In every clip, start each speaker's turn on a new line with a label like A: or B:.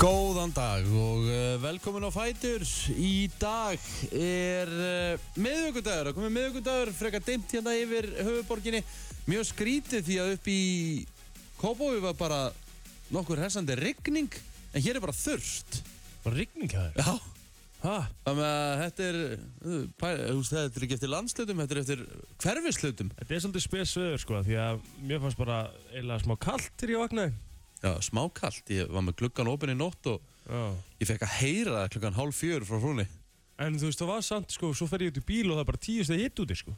A: Góðan dag og uh, velkomin á Fætur Í dag er uh, miðvöggundagur Það komið miðvöggundagur, frekar dimmt hérna yfir höfuborginni Mjög skrítið því að upp í Kópói var bara nokkur hersandi rigning En hér er bara þurft
B: Bara rigning að
A: Já Þannig að þetta er, uh, pæ, þú veist, þetta er ekki eftir landslutum, þetta er eftir hverfislutum
B: Þetta er svolítið spes veður sko Því að mér fannst bara eiginlega smá kallt til ég vaknaði
A: Já, smákalt, ég var með gluggan opinn í nótt og
B: Já.
A: ég fekk að heyra það klukkan hálf fjör frá frúni
B: En þú veist það var samt sko Svo fer ég út í bíl og það er bara tíu stegi hitt úti sko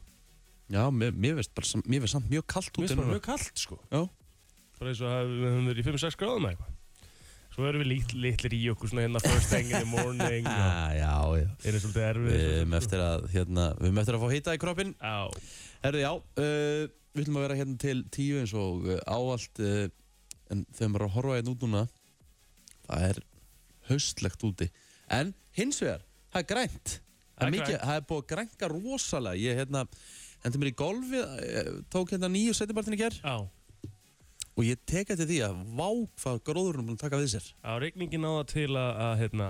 A: Já, mér, mér veist bara, sam- mér veist samt mjög kallt
B: Mér
A: út
B: finnst bara mjög kallt sko
A: Já,
B: Bara eins og að við höfum verið í 5-6 gráðum eða eitthvað Svo erum við lit, litlir í okkur svona hérna First thing in the morning og
A: ah, já, já
B: Erum svolítið erfið
A: Við erum eftir að, hérna, við erum eftir að fá hýta í kroppin
B: Á
A: Herðu, já, uh, við ætlum að vera hérna til tíu eins og uh, ávallt uh, En þegar maður er að horfa hérna út núna Það er haustlegt úti En hins vegar, það er grænt Það
B: Það
A: er
B: er
A: mikið,
B: grænt.
A: það er búið að grænka rosalega Ég, hérna, hendur mér í golfi eh, Tók hérna nýju setjabartin í ger
B: Á
A: Og ég tek eftir því að vá hvað gróðurinn er búin að taka við sér
B: Á rigningin á það til að, að hérna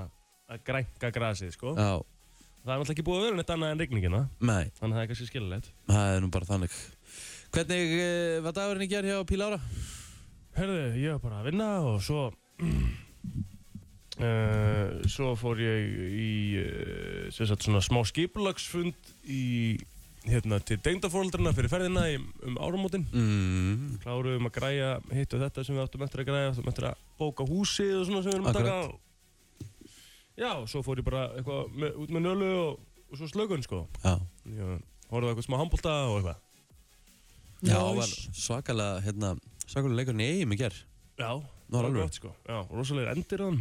B: Að grænka grasið sko
A: Já,
B: Það er náttúrulega ekki búið að vera neitt annað en rigningina
A: nei
B: Þannig að það er kannski skilulegt
A: Það er nú bara þannig Hvernig uh, var dagurinn í gerð hjá Pílára?
B: Herðu, ég var bara að vinna og svo uh, Svo fór ég í uh, sem sagt, svona smá skipulagsfund í, hérna, til deyndaforeldrarna fyrir ferðina í, um áramótin
A: Mm.
B: Kláruðum að græja hitt og þetta sem við áttum eftir að græja áttum eftir að bóka húsið og svona sem við erum að taka
A: Akkurat.
B: Já, svo fór ég bara eitthvað með, út með nölu og, og svo slögun sko
A: Já,
B: Já, horfðu á eitthvað smá handbólta og eitthvað
A: Já
B: Nice.
A: var svakalega, hérna, svakalega leikurinn í eigum í gerð
B: Já,
A: Nú er
B: það var
A: alveg.
B: gott sko Já, rosalega endir á hann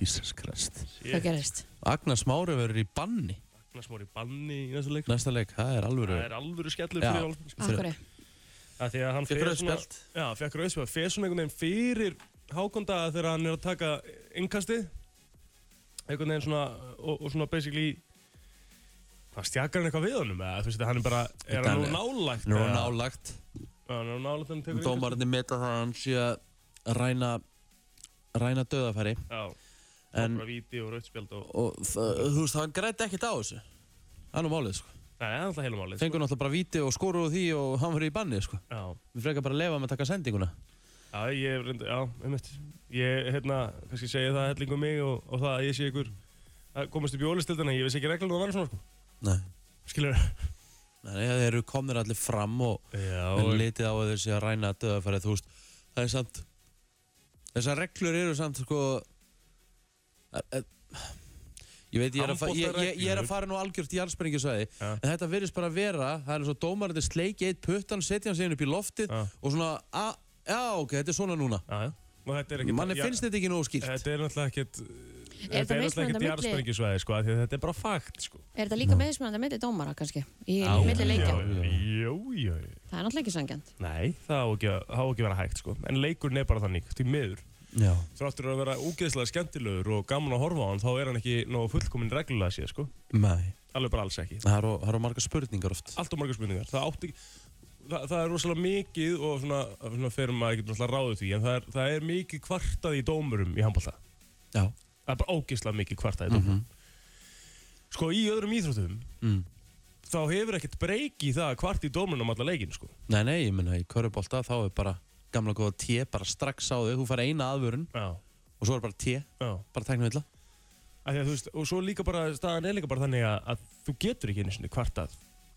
A: Jesus Christ
C: Hvað gerist?
A: Agnar Smári verður í banni
B: Agnes Mór í banni í næsta leik
A: Næsta leik, það er alvöru
B: Það er alvöru skellur
A: Já.
B: fyrir Valsmenn sko.
A: Fyrir-
C: Akkur
B: Það er því að hann
A: Fekk
B: fer
A: rautt
B: svona-
A: spjald.
B: Já, fekk rauðspjald Fer svona einhvern veginn fyrir hákonda þegar hann er að taka innkastið Einhvern veginn svona og, og svona basically Hvað stjakar hann eitthvað við honum? Eða, þú veist, hann er bara, er hann nú
A: Þetta
B: nálægt?
A: Nú er hann
B: eða?
A: álagt
B: Já, hann er nálægt þegar hann tekur
A: Dómarinn meta það að hann sé að ræna ræna döðafæri
B: innkastið. Já,
A: En,
B: bara víti og rauðspjald og
A: og það, þú veist, hann græti ekkert á þessu Það er nú málið, sko
B: Það er alltaf heilum álið
A: Fengur náttúrulega bara víti og skoruðu því og hann verður í banni, sko
B: Já,
A: Við frekar bara að lefa með að taka sendinguna
B: já, ég reyndi, já, einmitt Ég, hérna, kannski segja það hellingu um mig og, og það að ég sé ykkur að komast upp í ólistildina, ég vissi ekki reglunum að vera svona, sko
A: Nei
B: Skilur
A: Þannig að þeir eru komnir allir fram og
B: Já,
A: en litið á að þeir sé að ræna að döðafæri þú veist, það er samt þessar reglur eru samt sko er- er- ég veit ég er að, fa ég, ég, ég er að fara nú algjört í allspenningisvæði
B: Ja.
A: en þetta virðist bara vera, það er eins og dómarandi sleiki eitt puttan, setja hann síðan upp í loftið
B: Ja.
A: og svona, a, já ok, þetta er svona núna
B: Já, já. Og þetta er ekkert...
A: manni
B: já,
A: finnst þetta ekki nógu skýrt
B: Þetta er náttúrulega ekkert...
C: þetta
B: Þetta er náttúrulega
C: mismunandi
B: ekkert
C: milli-
B: jarðsprengisvæði, sko, af því að þetta er bara fakt, sko.
C: Er þetta líka meðismennandi milli dómara kannski? Í
A: Já,
C: milli leikja?
A: já.
B: Jú, jú, jú.
C: Það er náttúrulega ekki sangjant.
B: Nei, það á ekki, að- á ekki að vera hægt, sko. En leikurinn er bara þannig, því miður.
A: já,
B: Þráttur að vera úgeðslega skemmtilegur og gaman að horfa á hann, þá er hann ekki nógu fullkominn reglulega sér, sko.
A: nei,
B: Alveg bara alls ekki.
A: það eru, það eru marga spurningar oft
B: Allt og margar spurningar. Það átti ekki... Það, það er rosalega mikið og svona, svona fyrir maður ekki náttúrulega ráðið því en það er, það er mikið kvartað í dómurum í handbólta.
A: já,
B: Það er bara ógeðslega mikið kvartað í dómurum. Sko í öðrum íþróttum
A: mm.
B: þá hefur ekkert breyk í það að kvart í dómunum allar leikin sko.
A: nei, nei, ég menna í körubólta þá er bara gamla góða té bara strax á þau, þú fara eina aðvörun
B: Já,
A: og svo er bara té,
B: já.
A: bara tekna vilja
B: Að, þú veist, og svo líka bara, staðan er líka bara þannig að, að þú getur ekki einu sinni kvartað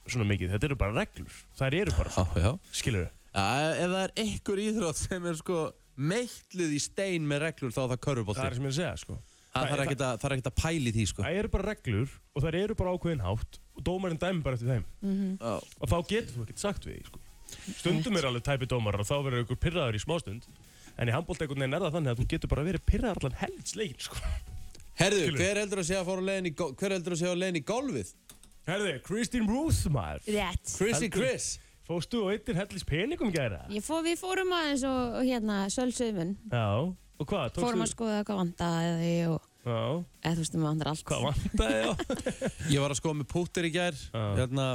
B: svona mikið, þetta eru bara reglur þær eru bara,
A: Já, já.
B: skilur þau
A: Ja, ef það er einhver íþrótt sem er sko meitluð í stein með reglur þá er það körfubólti.
B: það er sem ég er að segja, sko
A: Það þarf ekkert að, þarf ekkert að pæli því sko.
B: það eru bara reglur og þær eru bara ákveðin hátt og dómarinn dæmi bara eftir þeim
A: Já.
B: og þá getur þú ekkert sagt við því, sko stundum er alveg tæpi dómarar og þá verður ykkur pirraður í smástund en í handbólt einhvern veginn er það þannig að þú getur bara verið pirraður allan heldsleikin, sko
A: Herðu,
B: Skilur.
A: hver heldur að sé að fara á leiðin í, gó- hver heldur að sé á leiðin í golfið?
B: Herði, Kristín Ruth, maður
C: Rétt.
A: Chrissy
B: Heldur.
A: Chris.
B: Fóstu og eittir hellis peningum í gæra?
C: Ég fó, við fórum aðeins og og hérna sölsuðumun.
B: Já, og hvað? tókstu-
C: Fórum að skoða hvað vandaði og
B: Já,
C: eða þú veist um vandar allt.
B: hvað vantaði á?
A: Ég var að skoða með púttir í gær.
B: Já.
A: Hérna,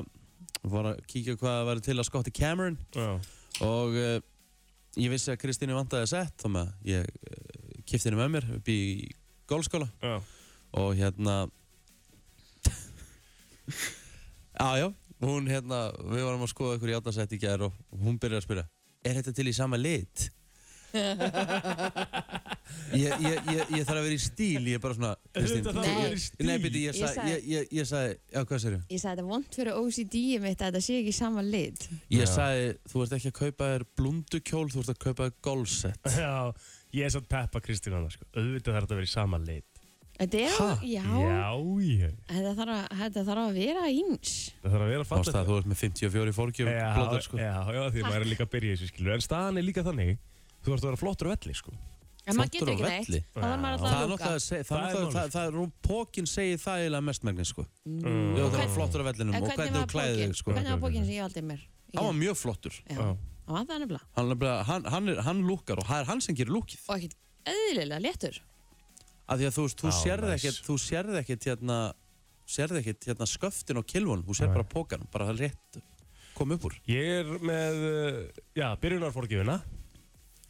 A: var að kíkja hvað það væri til að skotta Cameron
B: Já,
A: eh, og uh, ég vissi að Kristínu vantaði sett þá með að ég uh, kipti henni með mér upp í golfskóla
B: Já.
A: og hérna Já, já, hún hérna, við varum að skoða ykkur í átnarsætt í gær og hún byrjar að spyrja Er þetta til í sama lit? Ég, ég, ég, ég þarf að vera í stíl, ég er bara svona Kristín,
B: Auðvitað þarf
C: að
A: ég-
C: vera í
B: stíl.
A: Nei, beti, ég
C: Ég
A: sagði,
C: sagði-
A: ég, ég, ég sagði, já, hvað sérðu?
C: Ég sagði þetta er vond fyrir OCD-ið mitt að þetta sé ekki í sama lit.
A: Ég
B: Já.
A: sagði, þú ert ekki að kaupa þér blundukjól, þú ert að kaupa þér golfset
B: Já, ég er satt peppa Kristín annars sko. Auðvitað þarf þetta að vera í sama lit
C: Þetta er,
A: Ha?
C: já,
B: Já, já
C: Þetta, þarf að, þetta þarf að vera eins.
B: Það þarf að vera
A: Ástæða,
B: fallegt.
A: þú ert með 54 fórgjum
B: Já,
A: blóðar, sko
B: Já, já, því maður er líka að byrja í þessu skilur En staðan er líka þannig Þú ert að vera flottur á velli sko
C: En maður
A: Flottur
C: getur
A: á
C: ekki
A: velli.
C: neitt. Það var
A: Það er
C: maður alltaf að lúka.
A: náttúrulega, að seg- það er
B: Það er
A: náttúrulega,
B: málið.
A: það- það er, pókin segir það eiginlega mestmægnis, sko
B: Mm.
A: Jú, það var
C: Hvern-
A: flottur á vellinum og hvernig þú klæðið þig, sko
C: Hvernig var bókin sem ég valdi mér?
A: Hann var mjög flottur
C: Já,
B: Já.
C: hann var það nefnilega.
A: Hann, nefnilega- hann, hann, er- hann lúkkar og það er hann sem gerir lúkið
C: Og ekkert eðlilega léttur.
A: Af því að þú veist, þú
B: Já,
A: sérð
B: nice.
A: ekkert, þú sérð ekkert hérna sérð ekkert hérna sköftin og kilvun þú sérð
B: Nei.
A: bara pókan, bara það rétt kom upp úr
B: Ég er með, uh, já, byrjunarforgjöfina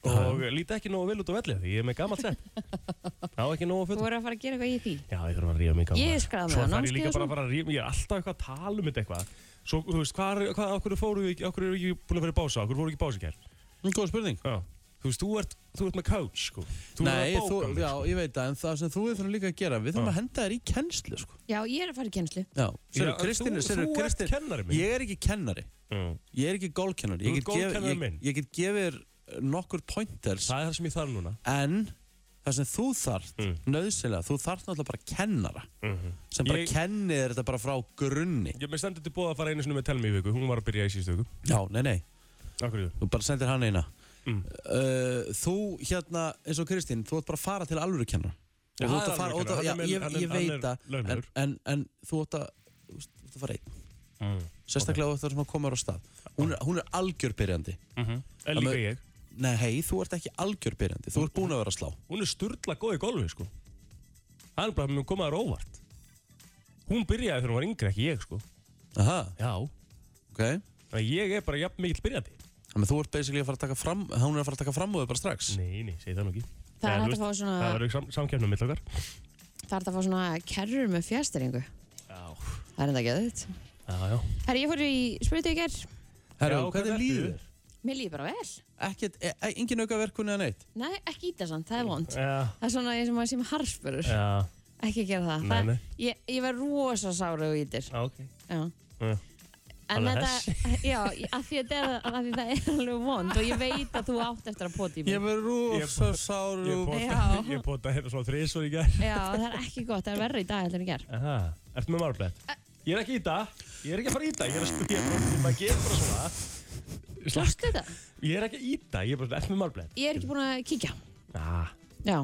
B: og líti ekki nógu vel út á velli því ég er með gamalt sepp Ná ekki nógu
C: Þú
B: fullt
C: voru að fara að gera eitthvað í því.
B: Já, ég þarf að ríða mig gamalt
C: Ég skráði mig á
B: Svo þarf
C: námskeið
B: ég líka
C: og
B: bara
C: svona.
B: að fara að ríða mig Ég er alltaf eitthvað að tala um þetta eitthvað Svo, þú veist, hvað, er- hvað, okkur fóru við ekki, okkur eru ekki búin að vera í bása Okkur fóru ekki í bása í gær
A: Góð spurning
B: Já Þú veist, þú ert, þú ert með coach, sko Þú
A: Nei,
B: ert að
A: þú,
B: bóka mig,
A: já, ég veit það, en það sem þú við þurfum líka að gera við þurfum
B: Já.
A: að henda þér í kennslu, sko
C: Já, ég er að fara í kennslu.
A: Já,
B: sko.
A: sér,
B: Já,
A: Kristín,
B: þú,
A: sér,
B: þú
A: Kristín,
B: ert kennari minn
A: Ég er ekki kennari,
B: Mm.
A: ég er ekki golfkennari
B: Þú
A: Ég
B: ert
A: get gefið-
B: golfkennari
A: ég,
B: minn.
A: ég get gefið þér, eh, nokkur pointers
B: Það er það sem ég þarf núna
A: En það sem þú þarft,
B: Mm.
A: nöðsynlega þú þarft náttúrulega bara kennara
B: Mhm.
A: sem bara
B: Ég-
A: kennir þér þetta bara frá grunni
B: Ég með stendur til bóða að fara einu sinni með telmi í viku, hún var að byrja í síðustu viku.
A: Já, nei, nei,
B: Akkur í
A: þú bara sendir hann eina
B: Mm.
A: uh, Þú hérna, eins og Kristín, þú ert bara að fara til alvöru kennara
B: Já,
A: Og þú
B: það
A: ert
B: er
A: að fara-
B: alvöru
A: og þú-
B: kennari.
A: já,
B: Hann er með-
A: Ég
B: hann er-
A: ég veit
B: hann er
A: það, en,
B: launaður.
A: en, en þú ert að, þú veist, þú ert að fara einn
B: Mm.
A: Sérstaklega okay. það sem að koma þér á stað Hún er, hún er algjörbyrjandi
B: Mm -hmm.
A: Það
B: En líka
A: Mhm. með-
B: ég.
A: Nei, hei, þú ert ekki algjörbyrjandi Þú ert búin að vera að slá
B: Hún er sturla góð í golfi, sko. Það er bara að mér koma þér óvart. Hún byrjaði þegar hún var yngri, ekki ég, sko.
A: Aha,
B: Já.
A: ok
B: Þannig að ég er bara jafn mikill byrjandi.
A: Þannig að þú ert basically að fara að taka fram Hún er að fara að taka fram úr bara strax
B: Nei, nei, segi það nú ekki.
C: Það
B: Nei,
C: er
B: þú
C: hægt
B: veist,
C: að fá
B: Það
C: svona,
B: verður sam samkjæmnum mitt okkar.
C: það er hægt að fá svona kerrur með fjasteringu.
B: Já.
C: Það er enda ekki að þetta.
B: Já, já.
C: Herri, ég fór í spurtu í gerð.
A: Herru,
B: Já,
A: hvernig
B: hvernig
A: líður?
B: ertu?
A: þér?
C: Mér líður bara vel.
A: Ekkert, e, e, engin auka verkun eða neitt
C: Nei, ekki íta samt, það er vond.
B: Já.
C: Það er svona eins og maður sem harfspörur.
B: Já.
C: Ekki gera það.
B: Nei,
C: það
B: nei.
C: Ég, ég var rosa sára og ítir.
B: Já, ok.
C: Já.
B: Já.
C: En
B: Alveg
C: þetta, já, af því, að þetta er, af því það er alveg vond og ég veit að þú átt eftir að poti í mig.
A: verður
B: rosa
A: sáru
B: Ég
C: Já.
B: pota, ég pota hérna svona þrísor í gerð.
C: Já, það er ekki gott, það er verri í dag heldur en í gerð.
B: Aha, ertu með marblett? Ég er ekki í það, ég er ekki að fara í það, ég er að spyrja bara, maður gerir bara svona.
C: Slastu þetta?
B: Ég er ekki í það, ég er bara, ertu með marblett?
C: Ég er ekki búin að kíkja.
B: Ah,
C: Já,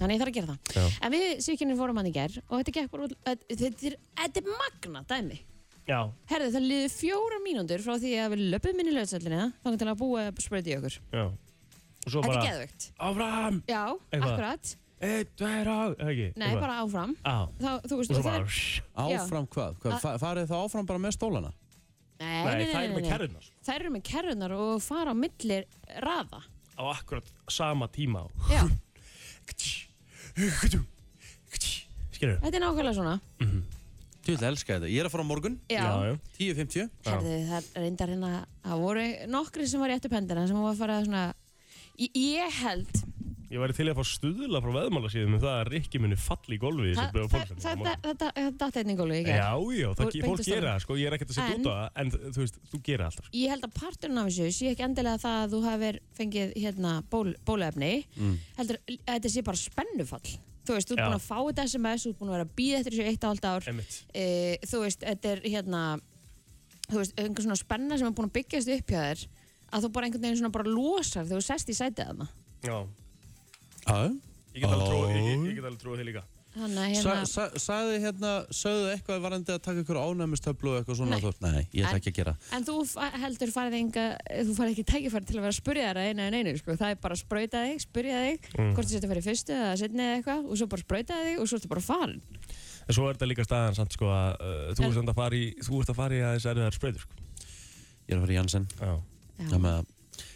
C: þannig ég þarf að gera það.
B: Já.
C: En við sýkjunni fórum hann í gerð og þetta gekk bara út, þetta- þetta er, þetta er magna dæmi.
B: já,
C: Herðu, það liði fjóra mínúndur frá því að við löpum inn í löðsöllinni þannig til að búa spröyti í okkur.
B: já. Og svo
C: Þetta er
B: bara,
C: geðvögt.
B: áfram,
C: Já,
B: Eitthvað.
C: akkurat.
B: einn, tveir á, eða ekki?
C: Nei,
B: eitthvað.
C: bara áfram.
B: Á,
C: Þá, þú
B: og
C: veist,
B: svo
C: og það
B: bara,
C: er-
B: shh.
A: Áfram hvað? hvað? fa- Farið það áfram bara með stólana?
C: Nei,
B: Nei, það er með sko. kerrunar.
C: Þær eru með kerrunar og fara á millir raða.
B: Á akkurat sama tíma á.
C: Já,
B: Skilur?
C: þetta er nákvæmlega svona.
A: Þú vil elska þetta, ég er að fara á morgun
C: Já.
B: já, já.
A: 10.50
C: Herðu, það er reyndar hérna, það voru nokkri sem var rétt upp hendina sem var að fara svona, ég, ég held,
B: Ég væri til í að fá stuðla frá veðmálasíðum um það að Rikki muni falli í golfi sem
C: það-
B: byrja á
C: það-
B: fólksendingu á
C: það-
B: morgun.
C: það- þetta þetta datt einnig gólu í
B: Já,
C: gerð.
B: já, það,
C: Úr
B: ge- fólk
C: beint úr
B: gera
C: staðnum.
B: það, sko, ég er ekkert að setja út
C: En-
B: á það, en þú veist, þú gera alltaf, sko.
C: Ég held að parturinn af þessu sé ekki endilega það að þú hafir fengið hérna ból, bólefni, heldur að þetta sé bara spennufall. Þú veist, þú ert
B: Mm. Já.
C: búin að fá þetta SMS, þú ert búin að vera að býða eftir þessu eitt og halvt ár.
B: Einmitt.
C: e, þú veist, þetta er hérna þú veist, einhver svona spenna sem er búin að byggjast upp hjá þér að þú bara einhvern veginn svona bara losar þegar þú sest í sætið þarna
B: Já,
A: Já
B: Ég get alveg trúið, ég,
A: Ó.
B: ég get alveg trúið þig líka.
C: þannig að
A: Sa,
C: hérna
A: sa, sagði hérna, sögðu eitthvað varandi að taka ykkur ánæmistöflu og eitthvað svona
C: Nei.
A: þú, Nei, ég ætla
C: En-
A: ekki að gera
C: en þú fa- heldur farið enga þú farið ekki tækifæri til að vera að spurja þér að einu en einu sko. það er bara að sprauta þig, spurja þig
A: Mm.
C: hvort þú setur að fara í fyrstu eða setni eða eitthvað og svo bara sprauta þig og svo ertu bara farin
B: En svo er þetta líka staðan samt sko að uh, þú,
C: En-
B: ert samt að fara í, þú ert að fara í að þessi erfiðar spreytur sko.
A: Ég er að fara í Janssen
B: Já.
C: Já.
A: Þannig að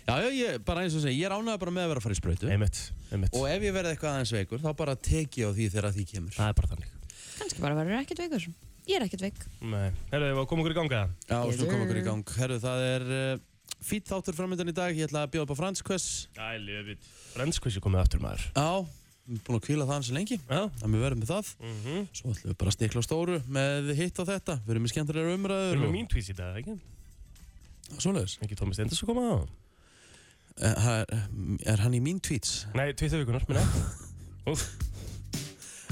A: Já, já, ég, bara eins og segi, ég er ánægður bara með að vera að fara í sprautu
B: Einmitt, einmitt.
A: Og ef ég verði eitthvað aðeins veikur, þá bara teki ég á því þegar að því kemur
B: Það er bara þannig.
C: Kannski bara verður ekkert veikur. Ég er ekkert veik.
B: Nei. Herðu, ef að koma okkur í ganga það?
A: Já, og
C: Yes,
A: svo koma okkur í
C: sir.
A: gang Herru, það er uh, fýtt þáttur framöndan í dag Ég ætla að bjóða upp á fransk quiz
B: I love it. Brennskvissi komið aftur maður.
A: Já, við erum búin að kvíla það hans lengi
B: Já.
A: að við verðum með það
B: Mhm.
A: Svo ætlum við bara að stikla á stóru með hitt á þetta Við erum í skemmtilegar
B: Það
A: umræður
B: er með mín tvís í dag, ekki?
A: og svoleiðis
B: Ekki Tómi Stenders að koma á?
A: Eh, það Er, er hann í mín tweets?
B: Nei, tvítið vikunar, minna. Úf,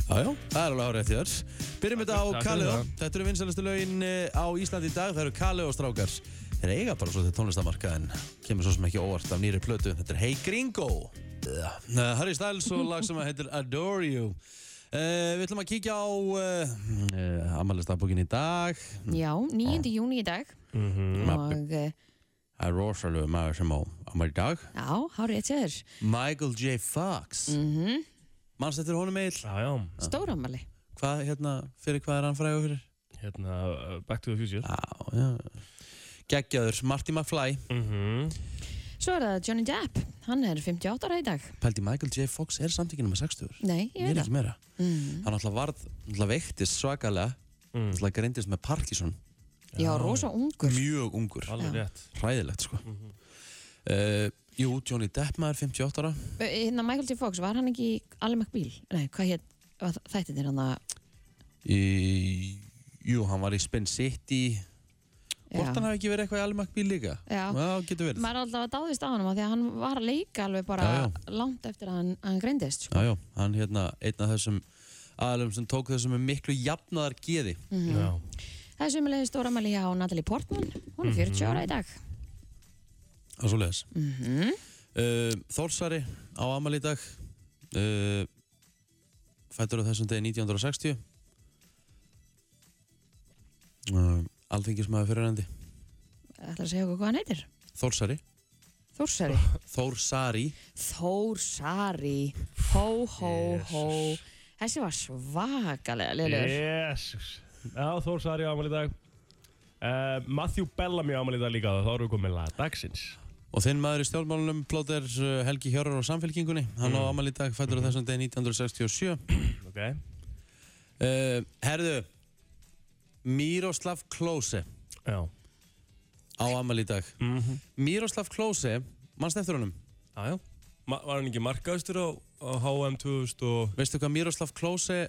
A: Já, já, það er alveg árið eftir þér Byrjum þetta á
B: Takk fyrir
A: Kaleo
B: það.
A: Þetta eru vinsælustu lögin eh, á Íslandi í dag Það eru Kaleo strákar Þeir eiga bara svo til tónlistamarka en kemur svo sem ekki óvart af nýri plötu Þetta er Hey Gringo Ugh. Eh, Harry Styles og lag sem heitir Adore You Uh, við ætlum að kíkja á uh, uh, amalistafbókin í dag
C: Já, 9.
A: Ah.
C: júni í dag.
B: Mhm.
C: Og eh,
A: Það er rosalegu maður sem á amal í dag
C: já, hárið eitt séður.
A: Michael J. Fox mm.
C: Mm
A: Manst eftir honum eil
B: já, já.
C: Stóramali.
A: Hvað, hérna, fyrir hvað er hann frægur fyrir?
B: Hérna, uh, Back to the Future.
A: Já, já Geggjaður, Marty McFly
B: Mhm.
C: Svo er það Johnny Depp. Hann er 58 ára í dag.
A: Pældi Michael J. Fox er samtíkinum með 60
C: Nei, ég
A: Ég er
C: veit það.
A: ekki meira
C: Mm.
A: Hann alltaf varð, alltaf veiktist svakalega
B: Mm.
A: Alltaf greindist með Parkinson
C: Já, rosa ungur.
A: Mjög ungur,
B: Alveg
C: Já.
B: rétt.
A: hræðilegt sko
C: Mhm.
A: uh, Jú, Johnny Depp maður 58 ára
C: Eh, Hérna Michael J. Fox, var hann ekki í Ally McBeal? Nei, hvað hétt? Þættin er hann að...
A: í, Jú, hann var í Spin City Hvort hann
C: Já.
A: hafi ekki verið eitthvað í Almak bíl líka?
C: Já.
A: Já, getur verið
C: Maður er alltaf að dáðist á hann af því að hann var að leika alveg bara
A: Já, já.
C: langt eftir að hann, hann greindist. Sko.
A: Já, já, hann hérna, einn af þessum aðlum sem tók þessum með miklu jafnaðar geði.
B: Já.
C: Það er sömulegði stóramæli hjá Natalie Portman. Hún er 40
A: Mhm.
C: ára í dag. Mhm.
A: Það er svoleiðis. Mm -hmm. uh, Þórsari á Amal í dag, uh, fættur á þessum degi 1960. Uh, Alþingismæður fyrirrendi.
C: Það ætlar að segja okkur hvað hann heitir.
A: Þórsari.
C: Þórsari.
A: Þórsari.
C: Þórsari. Hó, hó, hó. Þessi var svakalega liðlegur.
B: Jesus. Já, Þór Sari á ámæli í dag. Uh, Matthew Bellamy á ámæli í dag líka þá erum við komið með lag dagsins.
A: Og þinn maður í stjálfmálunum plóter uh, Helgi Hjörður á Samfélkingunni. Hann á Amal í dag, fættur á þessum degi 1967.
B: Ok.
A: Uh, herðu, Miroslav Klose
B: Já.
A: á amal í dag.
B: Mm
A: Miroslav Klose, mannst eftir honum.
B: Já, já. Ma var hann ekki markaðustur á, á HM 2000 og...
A: Veistu hvað Miroslav Klose,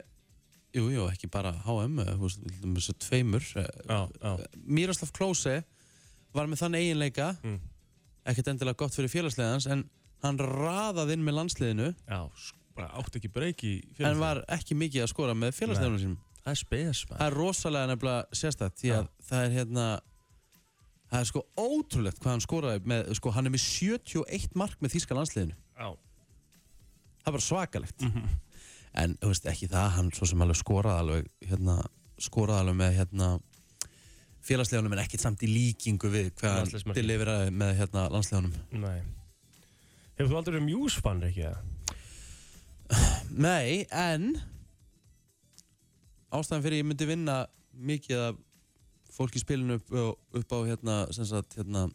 A: jú, jú, ekki bara HM, eh, þú veist, til dæmis að tveimur. eh,
B: Já, já.
A: Miroslav Klose var með þann eiginleika,
B: Mm.
A: ekkert endilega gott fyrir félagsliðans, en hann raðað inn með landsliðinu,
B: Já, sk- bara átt ekki breyk í
A: en var ekki mikið að skora með félagsliðunum sínum.
B: Það er spes, maður.
A: Það er rosalega nefnilega sérstætt, því að
B: Já.
A: það er hérna, það er sko ótrúlegt hvað hann skoraði með, sko, hann er með 71 mark með þýska landsliðinu.
B: Já.
A: það er bara svakalegt
B: Mhm.
A: en þú veist ekki það, hann svo sem alveg skoraði alveg hérna, skoraði alveg með hérna félagslegunum en ekkert samt í líkingu við hvað hann
B: Landsliðsmarkið.
A: deliveraði með hérna landslegunum
B: Nei. Hefur þú aldrei verið mjúsfann, ekki það?
A: nei, en ástæðan fyrir ég myndi vinna mikið af fólki í spilinu upp, á- upp á hérna, sem sagt, hérna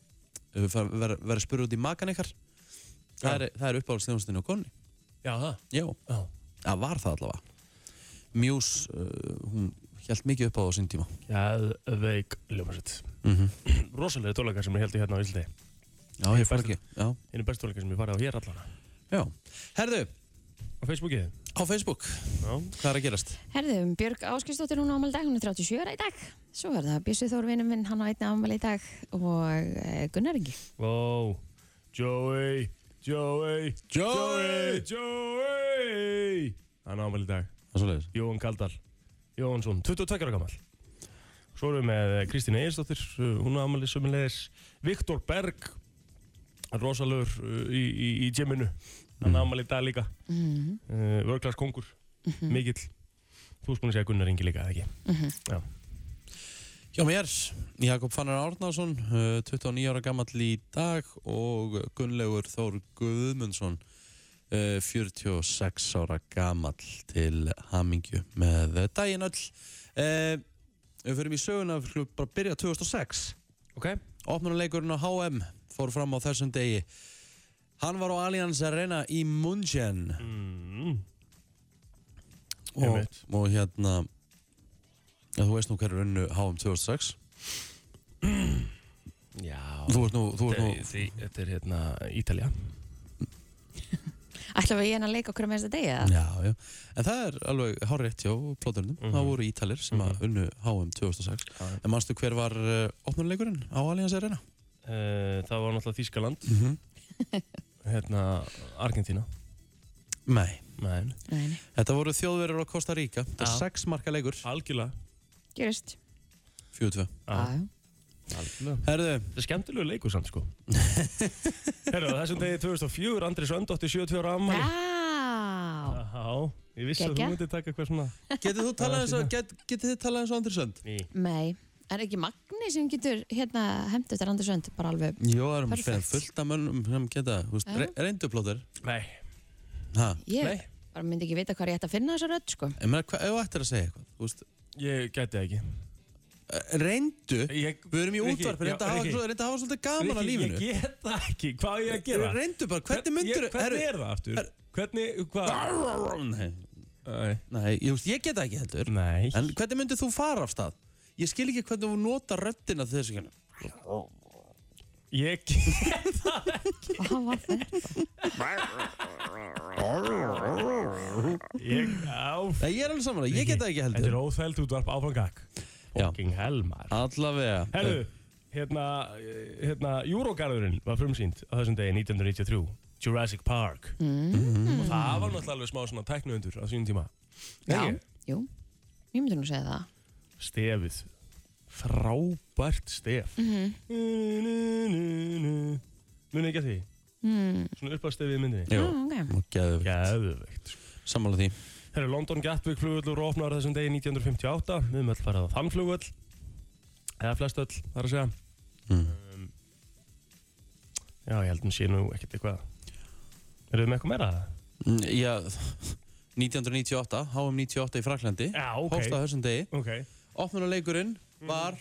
A: verið ver, spurði út í makan ykkar það
B: Já.
A: er, það er uppáhaldstjónstinu og konni
B: Já, það.
A: já,
B: Já.
A: það var það allavega Mjús, uh, hún held mikið upp á það á sín tíma
B: Jæðveik ljómasett.
A: mm
B: Rosalega tónleika sem ég held hérna á Íslandi.
A: Já, ég fór ekki Já,
B: Einu bestu tónleika sem ég farið á hér allan.
A: já Herðu,
B: Á Facebookið.
A: á Facebook,
B: Já.
A: hvað er að gerast?
C: Herðum, Björg Áskistóttir hún á ámæli í dag, hún er 37 ára í dag. Svo er það Bjössi Þórvinum minn, hann á einni ámæli í dag og eh, Gunnar Ingi.
B: Ó. Joey. Joey. Joey. Joey. Hann ámæl í dag.
A: Það er svoleiðis
B: Jón Kaldal. Jónsson. 22 ára gammal. Svo erum við með Kristín Eirsdóttir. Hún á ámæli sömulegis. Viktor Berg. Rosalur uh, í, í, í gyminu. Hann ámæli í dag líka.
C: Mm
B: uh, Vörglas kongur,
C: Mhm.
B: mikill Þú veist búin að segja Gunnar Ingi líka, eða ekki?
A: Hjá mér, Jakob Fannar Árnason, uh, 29 ára gamall í dag og Gunnlaugur Þór Guðmundsson, uh, 46 ára gamall til hamingju með daginn öll. Uh, við fyrir í söguna, við skulum bara byrja 2006.
B: Ok
A: Opnuleikurinn á HM fór fram á þessum degi. Hann var á Allianz Arena í München
B: Mm.
A: og,
B: Einmitt.
A: og hérna, ja, þú veist nú hverju unnu HM 2006.
B: Já.
A: Þú ert nú, þú ert
B: Þetta
A: nú,
B: er- því- þetta er hérna Ítalja.
C: Ætla við ég en að leika okkur með þess að degja það?
A: já, já. En það er alveg hárétt hjá plóturinnum. Það voru Ítalir sem að unnu HM 2006.
B: Já, já.
A: En manstu hver var uh, opnuleikurinn á Allianz Arena?
B: Uh, það var náttúrulega Þískaland,
A: Mm
B: hérna Argentína.
A: Nei.
B: Nei,
C: Nei, nei.
A: Þetta voru þjóðverður á Costa Rica. Þetta er
B: Já.
A: sex marka leikur.
B: algjörlega.
C: Gjörist.
A: 42.
B: Já,
C: Já,
B: algjörlega.
A: Herðu,
B: Þetta er skemmtilegu leikur samt sko Herra, þessum degi 2004 Andris Öndótti 72 ára
C: já.
B: ammali
C: Já.
B: Já, ég vissi að þú
C: Geggjað.
B: myndir taka eitthvað svona
A: Getið þú
B: Já,
A: talað eins og,
B: síðan.
A: get, getið þið talað eins og Andri Sönd?
B: Ný
C: Nei, er ekki Magni sem getur hérna hefndi eftir Andri Sönd bara alveg
A: Jó, það
C: Perfect.
A: er um fullt af mönnum sem geta, þú veist,
C: Já.
A: re reyndu plóður.
B: Nei,
A: Ha,
C: ég
B: Nei.
C: bara myndi ekki vita hvað ég ætti að finna þessa rödd sko
A: en maður, hvað, ef þú ættir að segja eitthvað, þú veist,
B: ég geti það ekki
A: eh, reyndu,
B: ég,
A: við erum í
B: Rikki,
A: útvarp,
B: já,
A: reyndu að hafa,
B: Rikki.
A: svo- reyndu að hafa svolítið gaman að lífinu.
B: Ég get það ekki, hvað á ég að gera?
A: Reyndu bara, hvernig myndur,
B: Ég- Hvernig er það aftur?
A: herru.
B: Hvernig, hvað?
A: Nei,
B: Æ.
A: nei, ég, veist, ég geta ekki heldur,
B: Nei
A: en hvernig myndir þú fara af stað? Ég skil ekki hvernig þú nota röddina til þessu kynna.
B: Ég get
C: Hvað var það?
B: ég, á,
A: Nei, ég er alveg samanlega, ég geta ekki
B: Þetta er
A: heldur.
B: óþæld útvarp áframgag
A: Já.
B: Fucking helmar
A: Allavega.
B: Herðu, hérna, eh, hérna, Júrógarðurinn var frumsýnd á þessum degi 1993, Jurassic Park.
A: Mm.
B: Og það var náttúrulega alveg smá svona tæknuöndur á sínum tíma. Nei.
C: Jú, ég myndi nú segja það
B: Stefið. Frábært stef.
A: Mhm.
B: Mm -hmm. Munið ekki að því?
C: mm.
B: Svona upp að stefið í myndinni.
A: Jú,
C: Já, Ah, ok.
A: og geðu,
B: Gæðuveikt.
A: samanlega því.
B: Herru, London Gatwick flugvöllur opnar þessum degi 1958. Við möll farað á þann flugvöll. Eða flest öll, þar að segja.
A: Mm.
B: um, Já, ég held að hún sé nú ekkert eitthvað Eruð þið með eitthvað meira?
A: Mm, Já, 1998, HM 98 í Fraklandi
B: Já,
A: Hófst á þessum degi
B: Ok,
A: Opnuleikurinn var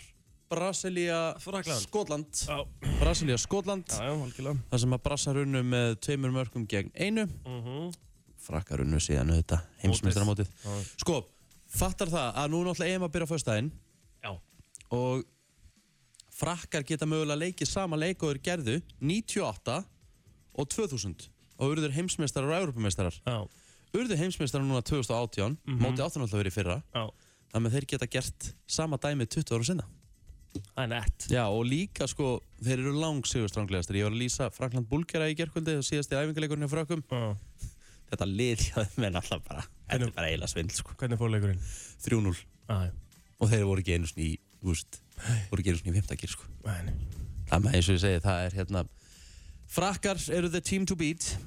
A: Brasilia
B: Frakkland.
A: Skotland
B: já,
A: Brasilia Skotland
B: já, já, algjörlega
A: Það sem að Brassar unnu með tveimur mörgum gegn einu
B: mm
A: Frakkar unnu síðan auðvitað heimsmyndaramótið Sko, fattar það að nú er náttúrulega EM að byrja á föstudaginn
B: Já,
A: og Frakkar geta mögulega leikið sama leik og þeir gerðu 98 og 2000 og urður heimsmeistarar og europameistarar
B: já,
A: urðu heimsmeistarar núna 2018
B: Mhm.
A: móti áttan alltaf verið í fyrra
B: já
A: þannig að þeir geta gert sama dæmi 20 ára sinna
B: Það er nett
A: Já og líka sko þeir eru lang sigurstranglegastir ég var að lýsa Frankland Bulgara í gerkvöldi og síðast í æfingaleikurinn hjá Frökkum
B: já.
A: þetta liðjaði menn alltaf bara þetta er bara eiginlega svindl sko
B: Hvernig fór leikurinn?
A: 3-0
B: Æ,
A: og þeir voru ekki einu sinni í þú veist, voru ekki einu sinni í fymtakir sko
B: nei, nei.
A: það með eins og ég segi það er hérna Frakkar eru the team to beat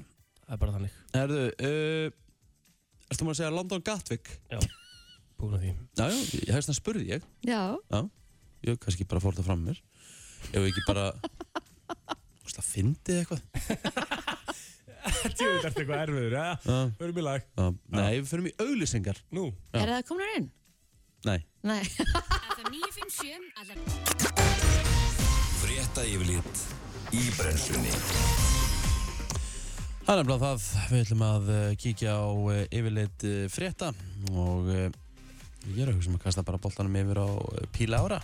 B: það er bara þannig
A: Erðu, uh, ertu maður að segja London Gatwick?
B: Búin að því
A: Já, já, ég hefst það spurði ég
C: Já,
A: Jú, kannski bara fór það fram mér Ef ekki bara Hvort það fyndið eitthvað
B: Tjóðu þetta eitthvað erfiður, já
A: uh,
B: Förum í lag
A: uh, Nei, við förum í auglýsingar
B: Nú
A: Já.
C: er það komnar inn?
A: Nei
C: Nei,
D: FM 957 allar
E: Frétta yfirlit í brennslunni
A: Það er nefnilega það Við ætlum að uh, kíkja á uh, yfirleitt uh, frétta og uh, ég er að hugsa um að kasta bara boltanum yfir á uh, Píla Ára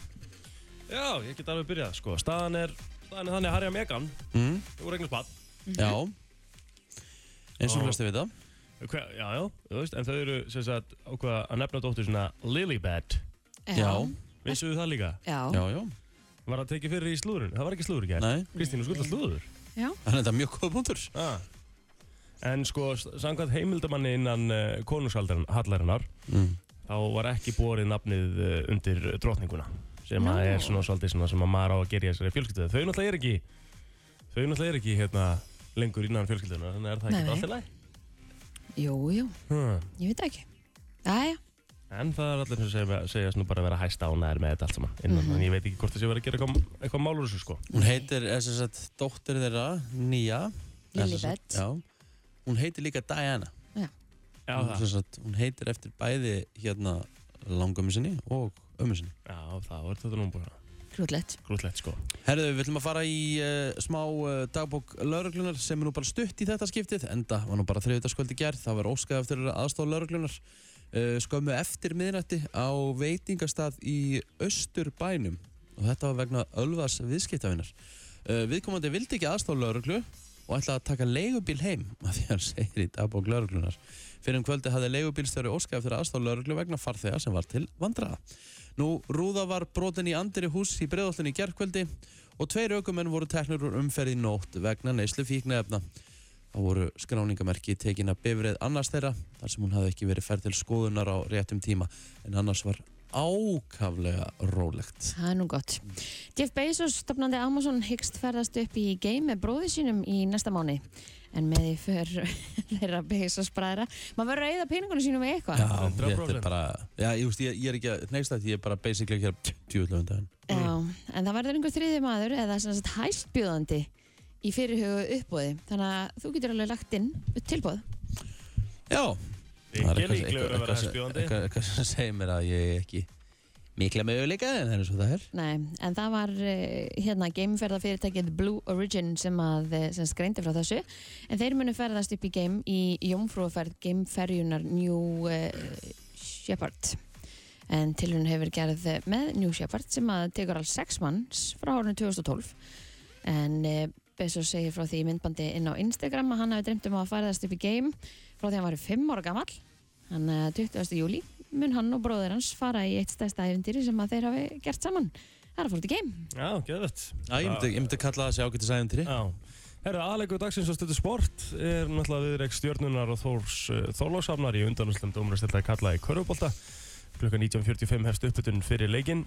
B: Já, ég get alveg byrjað, sko Staðan er, staðan er þannig að Harry og Megan
A: mm,
B: Þú regnast bad
A: Já eins og
B: Og-
A: flestu við það
B: Hver, já, já, þú veist, en þau eru sem sagt ákvað að nefna dóttur svona Lilybad
A: Já,
B: Vissuðu það líka?
C: Já,
A: já, já,
B: Var það tekið fyrir í slúðurinn? Það var ekki slúður í gerð.
A: nei
B: Kristín, þú skuldar slúður.
C: já.
A: Þannig að þetta er mjög góð punktur
B: Ah. En sko, s- samkvæmt heimildamanni innan uh, konungshallarinnar,
A: mm.
B: þá var ekki borið nafnið uh, undir drotninguna. Sem að
C: Nú.
B: er svona svolítið svona sem að maður á að gera í þessari fjölskyldu. Þau náttúrulega er ekki, þau náttúrulega er ekki hérna lengur innan fjölskylduna, þannig er það
C: Nei.
B: ekki alltaf læg.
C: Jú, jú,
B: Hmm.
C: ég veit það ekki Jæja,
B: En það er allir sem segja, segjast nú bara að vera hæst ánæðir með þetta allt saman. Innan,
C: Mhm.
B: En ég veit ekki hvort það sé verið að gera eitthvað, eitthvað málur þessu sko.
A: Hún heitir, er sem sagt, dóttir þeirra Nýja
C: Lilibet
A: Já Hún heitir líka Diana
B: Já,
A: hún,
B: það,
A: sem sagt, hún heitir eftir bæði hérna langömmu sinni og ömmu sinni
B: já, það var þetta nú bara.
C: Hrútlegt.
B: grútlegt sko.
A: Herðu, við ætlum að fara í uh, smá uh, dagbók lauruglunar sem er nú bara stutt í þetta skiptið enda var nú bara þriðutaskvöldi gerð, það var óskað eftir aðstofa lauruglunar uh, skömmu eftir miðnætti á veitingastað í Östurbænum og þetta var vegna Ölvas viðskiptafinnar uh, Viðkomandi vildi ekki aðstofa lauruglu og ætlaði að taka leigubíl heim að því hann segir í dagbók lauruglunar Fyrir um kvöldi hafði leigubílstjóri óskað eftir aðstofa lauruglu vegna farþega sem var til vandraða Nú, rúða var brotin í andri hús í breiðoltinni í gerðkvöldi og tveir aukumenn voru teknur úr umferði í nótt vegna neyslu fíknefna. Það voru skráningamerki tekin að bifrið annars þeirra þar sem hún hafði ekki verið færð til skoðunar á réttum tíma en annars var ákaflega rólegt.
C: Það er nú gott. Jeff Bezos, stopnandi Amazon, hyggst ferðast upp í game með bróði sínum í næsta mánu. En með því för þeirra Bezos bræðra, maður verður að eyða peningunum sínum í eitthvað.
A: þetta er
B: 100%.
A: bara, já, ég, veist, ég, ég er ekki að, neist að ég er bara basically að um gera djúðlöfundaginn.
C: Já, en það verður einhver þriði maður eða sem sagt hæstbjóðandi í fyrirhugu uppbóði. Þannig að þú getur alveg lagt inn tilbóð.
A: Já,
B: Ég
A: Það er
B: er ekki
A: eitthvað-
B: líklegur að
A: eitthvað-
B: vera
A: eitthvað-
B: hæstbjóðandi.
A: Eitthvað eitthvað sem segir mér að ég er ekki mikla möguleika en það er svo það er.
C: Nei, en það var eh, hérna gameferðafyrirtækið Blue Origin sem að eh, sem skreindi frá þessu. En þeir munu ferðast upp í game í jómfrúferð gameferjunar New eh, Shepard. En tilhörun hefur gerð með New Shepard sem að tekur alls sex manns frá árunni 2012. En eh, Bezos segir frá því í myndbandi inn á Instagram að hann hafi dreymt um að ferðast upp í game frá því hann var fimm ára gammal. Hann eh, 20. júli mun hann og bróður hans fara í eitt stærsta æfintýri sem að þeir hafi gert saman. Það er að fórt í game.
B: Já, geðvett.
A: Já, ég myndi, ég myndi kalla það sér ágættis æfintýri.
B: Já. Herra, aðleikur dagsins á stötu sport er náttúrulega viðreik stjörnunar og Þórs uh, Þorlóksafnar í undanúsland umræðstillega kallaði Körfubólta. Klukkan 19.45 hefst uppbytun fyrir leikinn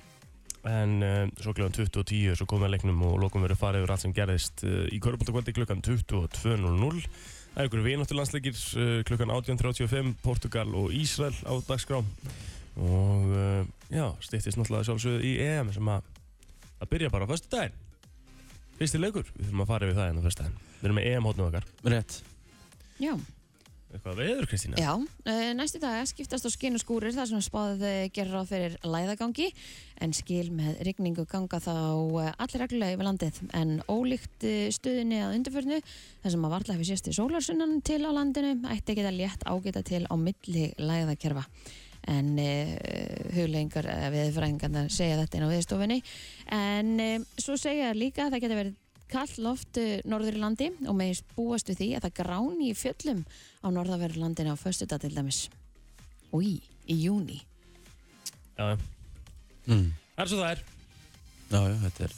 B: en uh, svo klukkan 20.10 svo komið að leiknum og lokum verið farið yfir allt sem gerðist uh, í Körfubóltakvöldi klukkan 22.00. Það er ykkur vináttulandsleikir uh, klukkan 18.35 Portugal og Ísrael á dagskrá og uh, já, stýttist náttúrulega sjálfsögðu í EM sem að, að byrja bara á föstu Fyrsti leikur, við þurfum að fara við það enn á fyrstaðin Við erum með EM-hótnum okkar
A: Rétt.
C: Já,
B: Eitthvað veður, Kristína?
C: Já. Eh, næstu daga skiptast á skin og skúrir þar sem spáð eh, gerir ráð fyrir læðagangi en skil með rigningu ganga þá eh, allir reglulega yfir landið en ólíkt eh, stuðinni að undirförnu þar sem að varla hefur sérst í sólarsunnan til á landinu ætti ekki að létt ágita til á milli læðakerfa en uh, huglegingar uh, viðfræðingarnar segja þetta inn á viðstofinni en uh, svo segja þær líka að það getur verið kallt loft eh, norður í landi og með búast við því að það gráni í fjöllum á norðaverðu landinu á föstudag til dæmis Úi, í júni
B: Já, já.
A: Mm.
B: Það er svo það er
A: Já, já, þetta er